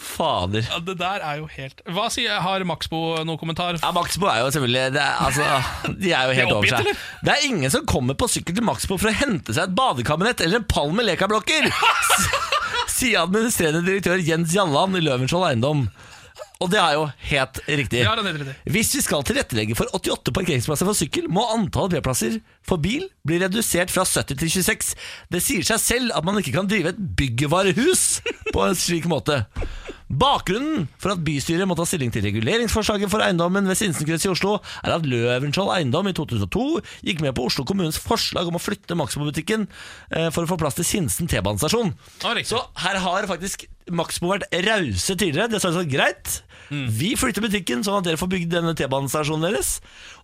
S2: fader.
S3: Ja, det der er jo helt Hva sier Har Maxbo noen kommentar?
S2: Ja, Maxbo er jo selvfølgelig det er, altså, De er jo helt
S3: De er
S2: over
S3: oppgitt,
S2: seg.
S3: eller?
S2: Det er ingen som kommer på sykkel til Maxbo for å hente seg et badekabinett eller en pall med lekablokker! s- Sier administrerende direktør Jens Jalland i Løvenskiold Eiendom. Og det er jo helt riktig.
S3: Ja, det er helt riktig.
S2: Hvis vi skal tilrettelegge for 88 parkeringsplasser for sykkel, må antallet p-plasser for bil bli redusert fra 70 til 26. Det sier seg selv at man ikke kan drive et byggevarehus på en slik måte. Bakgrunnen for at bystyret må ta stilling til reguleringsforslaget for eiendommen ved Sinsenkrets i Oslo, er at Løvenskiold Eiendom i 2002 gikk med på Oslo kommunes forslag om å flytte Maxbo-butikken eh, for å få plass til Sinsen T-banestasjon.
S3: Ja, riktig.
S2: Så her har faktisk Maxbo vært rause tidligere. Det sa de sånn, greit. Vi flytter butikken sånn at dere får bygd denne T-banestasjonen deres.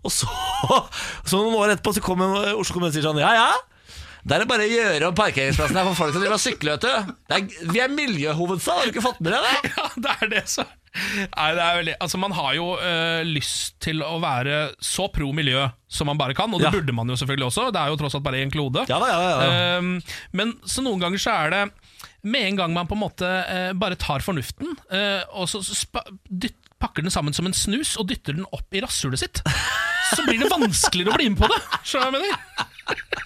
S2: Og så, så noen år etterpå så kommer Oslo kommune og sier sånn ja, ja. Det er det bare å gjøre om parkeringsplassen her for folk som driver og sykler. vet du. Det er- Vi er miljøhovedstad, har du ikke fått med deg det?
S3: Ja, det er det, så. Nei, det er veldig, altså Man har jo eh, lyst til å være så pro miljø som man bare kan, og det
S2: Ja.
S3: burde man jo selvfølgelig også. Det er jo tross alt bare én klode.
S2: Ja da, ja da, ja da.
S3: Ehm, men så noen ganger så er det med en gang man på en måte eh, bare tar fornuften, eh, og så spa, dytt, pakker den sammen som en snus og dytter den opp i rasshølet sitt, så blir det vanskeligere å bli med på det. Skjønner du hva jeg mener?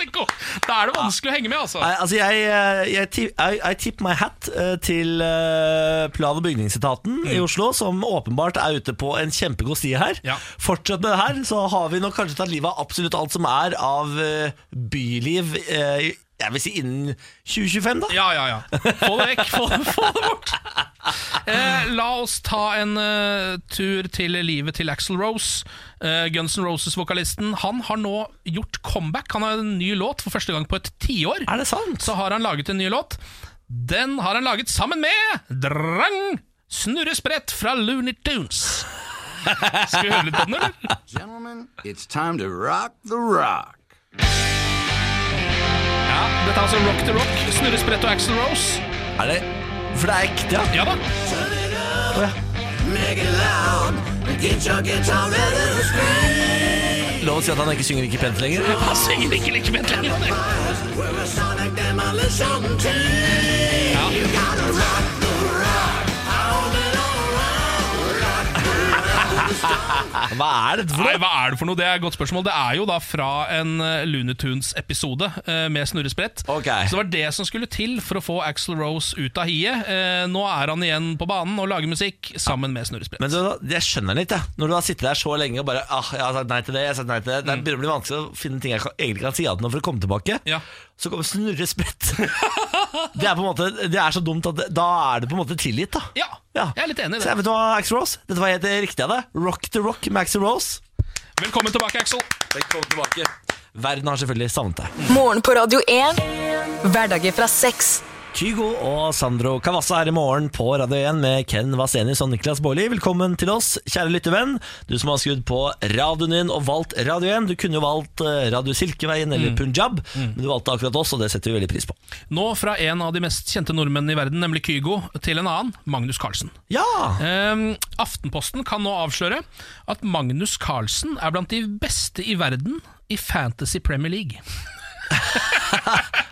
S3: Det går, da er det vanskelig å henge med, altså.
S2: Nei, altså jeg, eh, jeg, ti- I, I tip my hat eh, til eh, plan- og bygningsetaten i Oslo, som åpenbart er ute på en kjempegod sti her.
S3: Mm. Ja.
S2: Fortsett med det her, så har vi nok kanskje tatt livet av absolutt alt som er av eh, byliv, eh, jeg vil si innen 2025 da.
S3: Ja, ja, ja. Få det vekk. Få, få det bort. Eh, la oss ta en eh, tur til livet til Axel Rose. Eh, Guns N' Roses-vokalisten. Han har nå gjort comeback. Han har en ny låt for første gang på et tiår.
S2: Er det sant?
S3: Så har han laget en ny låt. Den har han laget sammen med Drang! Snurresprett fra Looney Tunes. Skal vi høre litt på den, eller?
S7: Gentlemen, it's time to rock the rock.
S3: Ja, Dette er altså Rock the Rock, Snurresprett og Axel Rose.
S2: Er det? For det er ekte, ja.
S3: Ja da.
S2: Lov å si at han ikke synger like pent lenger.
S3: Han synger ikke like pent lenger.
S2: Hva er dette for
S3: Nei,
S2: noe?
S3: hva er det for noe? Det er et godt spørsmål. Det er jo da fra en eh, Looney Tunes-episode eh, med snurresprett.
S2: Ok.
S3: Så det var det som skulle til for å få Axl Rose ut av hiet. Eh, Nå er han igjen på banen og lager musikk sammen med snurresprett.
S2: Men du, jeg skjønner den ikke, jeg. når du har sittet der så lenge og bare ah, 'Jeg har sagt nei til det, jeg har sagt nei til det.'
S5: Mm.
S2: Det begynner å bli vanskelig å finne ting jeg kan, egentlig kan si ja til nå for å komme tilbake.
S3: Ja.
S2: Så kommer Snurre Sprett. det er på en måte Det er så dumt at det, da er det på en måte tilgitt, da.
S3: Ja, jeg er litt enig i det.
S2: Så jeg vet du hva, Axl Rose? Dette var helt riktig av deg. Rock the rock med Axl Rose.
S3: Velkommen tilbake, Axl.
S2: Velkommen tilbake. Verden har selvfølgelig savnet deg.
S1: Morgen på Radio 1. Hverdager fra seks.
S2: Kygo og Sandro Cavazza er i morgen på Radio 1 med Ken Vasenius og Niklas Baarli. Velkommen til oss, kjære lyttevenn. Du som har skrudd på radioen din og valgt Radio 1. Du kunne jo valgt eh, Radio Silkeveien
S3: Mm.
S2: eller Punjab, men du valgte akkurat oss, og det setter vi veldig pris på.
S3: Nå fra en av de mest kjente nordmennene i verden, nemlig Kygo, til en annen, Magnus Carlsen.
S2: Ja!
S3: Ehm, Aftenposten kan nå avsløre at Magnus Carlsen er blant de beste i verden i Fantasy Premier League.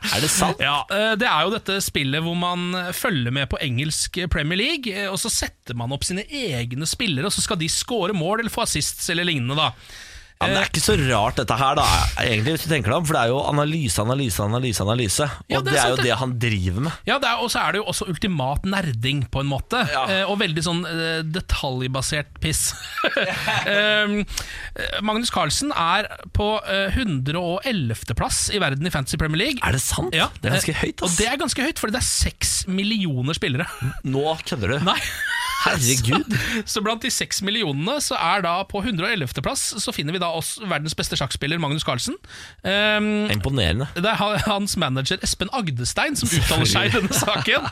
S2: Er det sant?
S3: Ja, eh, Det er jo dette spillet hvor man følger med på engelsk Premier League, eh, og så setter man opp sine egne spillere, og så skal de score mål eller få assists eller lignende. da
S2: Ja, men det er ikke så rart dette her, da, egentlig, hvis du tenker deg om. For det er jo analyse, analyse, analyse, analyse. Og
S3: Ja, det er
S2: det er,
S3: sant,
S2: jo
S3: det.
S2: det han driver med.
S3: Ja, det er, Og så er det jo også ultimat nerding, på en måte. Eh, og veldig sånn eh, detaljbasert piss. um, eh, Magnus Carlsen er på eh, 111.-plass i verden i Fantasy Premier League.
S2: Er det sant?
S3: Ja,
S2: Det er ganske
S3: eh,
S2: høyt,
S3: Og
S2: ass.
S3: det er ganske høyt, fordi det er seks millioner spillere.
S2: Nå kødder du.
S3: Nei
S2: Herregud.
S3: Så blant de seks millionene så er da på 111. plass så finner vi da oss verdens beste sjakkspiller Magnus Carlsen. Ehm,
S2: Imponerende.
S3: det er han- hans manager Espen Agdestein som uttaler seg i denne saken.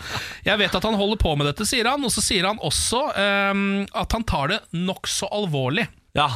S3: Jeg vet at han holder på med dette, sier han. Og så sier han også ehm, at han tar det nokså alvorlig.
S2: Ja.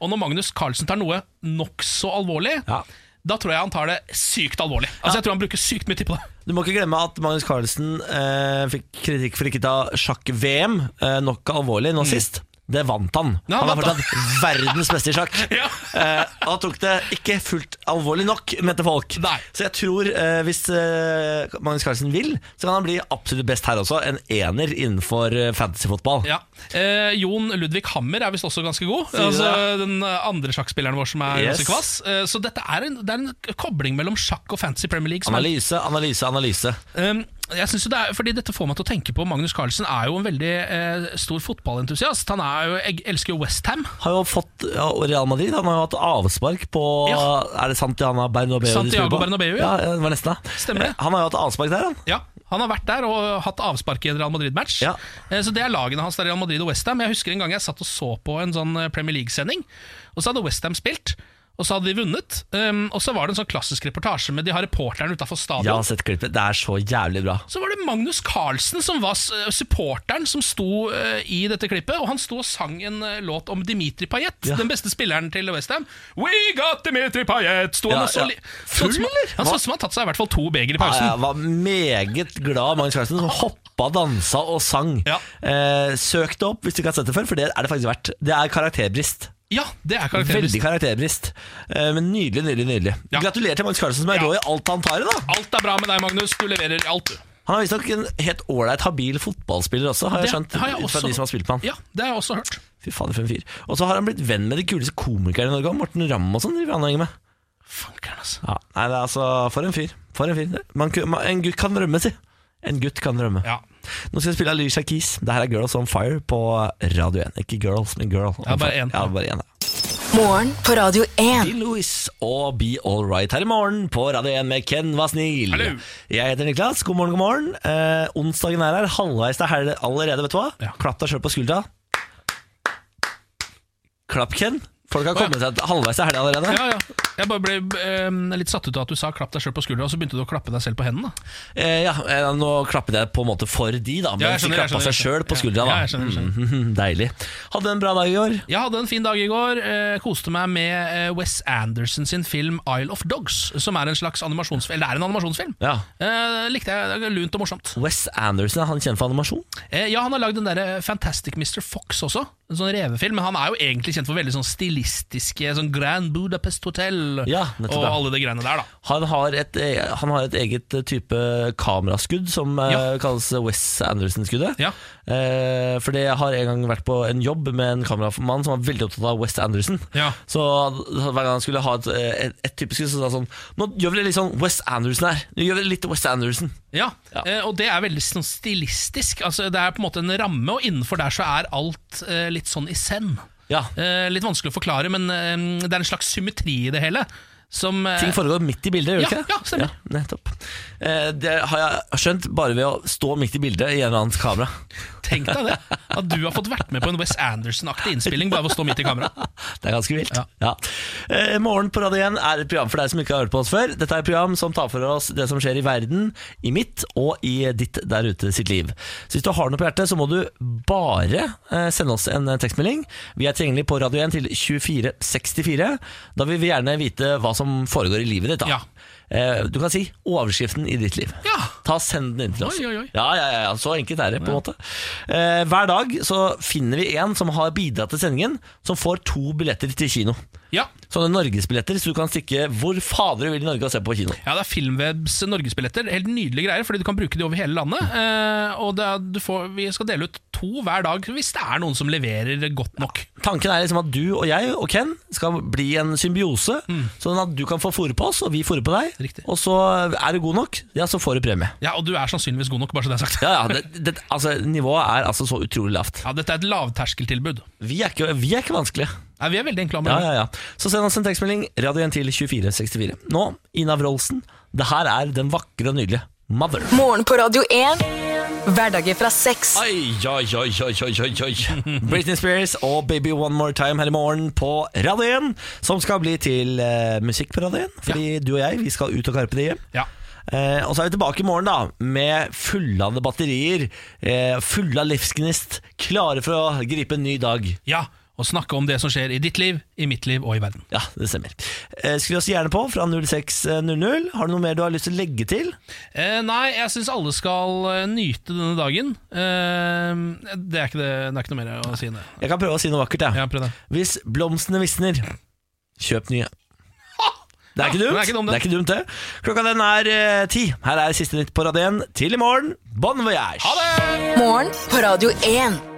S3: Og når Magnus Carlsen tar noe nokså alvorlig,
S2: Ja.
S3: da tror jeg han tar det sykt alvorlig. Altså Jeg tror han bruker sykt mye tid på det.
S2: Du må ikke glemme at Magnus Carlsen eh, fikk kritikk for ikke ta sjakk-VM eh, nok alvorlig nå sist. Det vant han.
S3: Mm. Ja, han
S2: han er
S3: vant, da.
S2: fortsatt verdens beste i sjakk.
S3: Ja.
S2: eh, og han tok det ikke fullt alvorlig nok, mente folk.
S3: Nei.
S2: Så jeg tror eh, hvis eh, Magnus Carlsen vil, så kan han bli absolutt best her også. En ener innenfor eh, fantasyfotball.
S3: Ja. Eh, Jon Ludvig Hammer er visst også ganske god.
S2: du
S3: Altså, den eh, andre sjakkspilleren vår som er
S2: Yes.
S3: ganske kvass. Eh, så dette er en, det er en kobling mellom sjakk og fancy Premier League. Som er,
S2: Analyse, analyse, analyse.
S3: um, jeg synes jo det er, fordi Dette får meg til å tenke på Magnus Carlsen er jo en veldig eh, stor fotballentusiast. Han er jo, jeg elsker jo Westham.
S2: Har jo fått ja, og Real Madrid Han har jo hatt avspark på
S3: Ja.
S2: Er det Santiago Bernabeu? de spiller
S3: Santiago
S2: på?
S3: Bernabeu,
S2: ja.
S3: ja.
S2: ja. Det var nesten det.
S3: Stemmer det.
S2: Eh, Han har jo hatt avspark der, han.
S3: Ja, Han har vært der og hatt avspark i en Real Madrid-match.
S2: Ja.
S3: Eh, Så Det er lagene hans der i Real Madrid og Westham. Jeg husker en gang jeg satt og så på en sånn eh, Premier League-sending, og så hadde Westham spilt. Og så hadde de vunnet. Um, og så var det en sånn klassisk reportasje med de har reporteren utafor
S2: Jeg
S3: stadion.
S2: har sett klippet. Det er så jævlig bra.
S3: Så var det Magnus Carlsen som var s- eh, supporteren som sto eh, i dette klippet. Og han sto og sang en eh, låt om Dimitri Payet, den beste spilleren til Westham. We got Dimitri Payet! Sto
S2: Ja,
S3: han og
S2: ja.
S3: så li- sånn
S2: Full,
S3: som-
S2: eller?
S3: Han sånn som han tatt seg i hvert fall to beger i
S2: Ja,
S3: pausen.
S2: jeg var meget glad Magnus Carlsen som hoppa, dansa og sang.
S3: Ja.
S2: Eh, søk det opp hvis du ikke har sett det før, for det er det faktisk verdt. Det er karakterbrist.
S3: Ja, det er
S2: Veldig
S3: karakteristisk.
S2: karakterbrist. Eh, men nydelig, nydelig, nydelig.
S3: Ja.
S2: Gratulerer til Magnus Carlsen som er
S3: Ja.
S2: rå i alt han tar i, da.
S3: Alt er bra med deg, Magnus. Du leverer i alt, du.
S2: Han er visstnok en helt ålreit habil fotballspiller også, har jeg skjønt.
S3: Det har jeg
S2: ut fra
S3: også-
S2: de som har spilt med han.
S3: Ja, det har jeg også hørt.
S2: Fy faen, for en fyr. Og så har han blitt venn med de kuleste komikerne i Norge, og Morten Ramm og sånn. driver han og henger med.
S3: Fankeren, altså.
S2: Ja, nei, det er altså For en fyr. For en fyr. Man, ku- man, en gutt kan rømme, si. En gutt kan rømme.
S3: Ja.
S2: Nå skal jeg spille Alicia Keys. Det her er Girls On Fire på Radio 1. Ikke Girls, men Girl.
S3: Ja, bare én.
S2: Ja, bare én. ja.
S1: Morgen på Radio 1.
S2: Dean Lewis og Be All Right her i morgen på Radio 1 med Ken Vasnil.
S3: Hallo.
S2: Jeg heter Niklas. God morgen, god morgen. Eh, onsdagen er her. Halvveis til helg allerede, vet du hva.
S3: Ja.
S2: Klapp deg sjøl på skuldra. Klapp, Ken. Folk har kommet seg halvveis til helg allerede.
S3: Ja, ja. Jeg bare ble eh, litt satt ut av at du sa 'klapp deg sjøl på skuldra', og så begynte du å klappe deg selv på hendene. da.
S2: Eh, ja, eh, nå klappet jeg på en måte for de, da.
S3: Ja, jeg
S2: Mens de
S3: skjønner,
S2: klappa
S3: jeg skjønner,
S2: seg
S3: jeg
S2: sjøl på
S3: skjønner.
S2: skuldra, da.
S3: Ja, jeg skjønner, jeg skjønner.
S2: Mhm, deilig. Hadde en bra dag i går.
S3: Jeg hadde en fin dag i går. Eh, koste meg med eh, Wes Anderson sin film 'Isle of Dogs', som er en slags animasjonsfilm. Eller det er en animasjonsfilm.
S2: Ja.
S3: Eh, likte jeg. det er Lunt og morsomt.
S2: Wes Anderson, er han kjent for animasjon?
S3: Eh, ja, han har lagd den derre Fantastic Mr. Fox også, en sånn revefilm. Men han er jo egentlig kjent for veldig sånn stilistiske sånn Grand Budapest Hotel
S2: Ja, nettopp,
S3: og
S2: ja.
S3: alle de greiene der, da.
S2: Han har et, eh, han har et eget eh, type kameraskudd som eh,
S3: Ja.
S2: kalles Wes Anderson-skuddet.
S3: Ja.
S2: Eh, for det har en gang vært på en jobb med en kameramann som var veldig opptatt av Wes Anderson.
S3: Ja.
S2: Så hver gang han skulle ha et, eh, et, et typisk skudd, så sa han sånn Nå gjør vi det litt sånn Wes Anderson her. Nå gjør vi det litt Wes Anderson.
S3: Ja,
S2: Ja.
S3: eh, og det er veldig sånn stilistisk. Altså, det er på en måte en ramme, og innenfor der så er alt eh, litt sånn i send.
S2: Ja.
S3: Eh, litt vanskelig å forklare, men eh, det er en slags symmetri i det hele. Som, eh,
S2: Ting foregår midt i bildet, gjør det
S3: ja,
S2: ikke? det?
S3: ja, stemmer.
S2: nettopp. Eh, det har jeg skjønt bare ved å stå midt i bildet i en eller annen kamera.
S3: Tenk deg det! At du har fått vært med på en Wes Anderson-aktig innspilling bare ved å stå midt i kamera.
S2: Det er ganske vilt.
S3: Ja.
S2: Ja. Eh, morgen på Radio 1 er et program for deg som ikke har hørt på oss før. Dette er et program som tar for oss det som skjer i verden, i mitt og i ditt der ute sitt liv. Så hvis du har noe på hjertet, så må du bare eh, sende oss en eh, tekstmelding. Vi er tilgjengelig på Radio 1 til 2464. Da vil vi gjerne vite hva som foregår i livet ditt. Da.
S3: Ja.
S2: Eh, du kan si overskriften i ditt liv.
S3: Ja.
S2: Ta og Send den inn til oss.
S3: Oi, oi, oi.
S2: Ja, ja, ja, ja, så enkelt er det på en måte eh, Hver dag så finner vi en som har bidratt til sendingen Som får to billetter til kino
S3: Ja,
S2: Sånne Norgesbilletter, så du kan stikke hvor fader du vil i Norge og se på kino
S3: Ja, det er Filmwebs norgesbilletter. Helt nydelige greier, fordi du kan bruke de over hele landet. Eh, og det er, du får, vi skal dele ut to hver dag hvis det er noen som leverer godt nok.
S2: Tanken er liksom at du og jeg og Ken skal bli en symbiose Sånn at du kan få fôre på oss, og vi fôre på deg
S3: Mm. Riktig.
S2: Og så er du god nok, ja så får du premie
S3: Ja, Og du er sannsynligvis god nok, bare så det er sagt.
S2: ja, ja, det, det, altså, nivået er altså så utrolig lavt
S3: Ja, Dette er et lavterskeltilbud.
S2: Vi er ikke, vi er ikke vanskelige
S3: Nei, vi er veldig
S2: Ja,
S3: enkle å anbefale.
S2: ja, ja. Så send oss en tekstmelding. Radio 1 til 2464. Nå, Ina Wroldsen. Det her er den vakre og nydelige Mother.
S1: Morgen på Radio 1. Hverdager fra seks.
S2: Oi, oi, oi, oi, oi, oi, oi. Britney Spears og Baby One More Time her i morgen på Radio 1, som skal bli til eh, musikk på Radio 1. Fordi du og jeg, vi skal ut og karpe det hjem.
S3: Ja.
S2: Eh, og så er vi tilbake i morgen da med fullade batterier, eh, fulle av livsgnist, klare for å gripe en ny dag.
S3: ja, Og snakke om det som skjer i ditt liv, i mitt liv og i verden.
S2: Ja, det stemmer. Eh, Skriv oss gjerne på fra 0600. Har du noe mer du har lyst til å legge til?
S3: Eh, nei, jeg syns alle skal eh, nyte denne dagen. Eh, det, er ikke det, det er ikke noe mer å si enn det.
S2: Jeg kan prøve å si noe vakkert, jeg.
S3: Ja, prøv det.
S2: Hvis blomstene visner, kjøp nye. Det er,
S3: Ja,
S2: ikke
S3: den
S2: dumt.
S3: er ikke dum, den.
S2: det er ikke dumt, det. Klokka den er eh, ti. Her er siste nytt på Radén. Til i morgen, bon voyage!
S1: Morgen på Radio 1.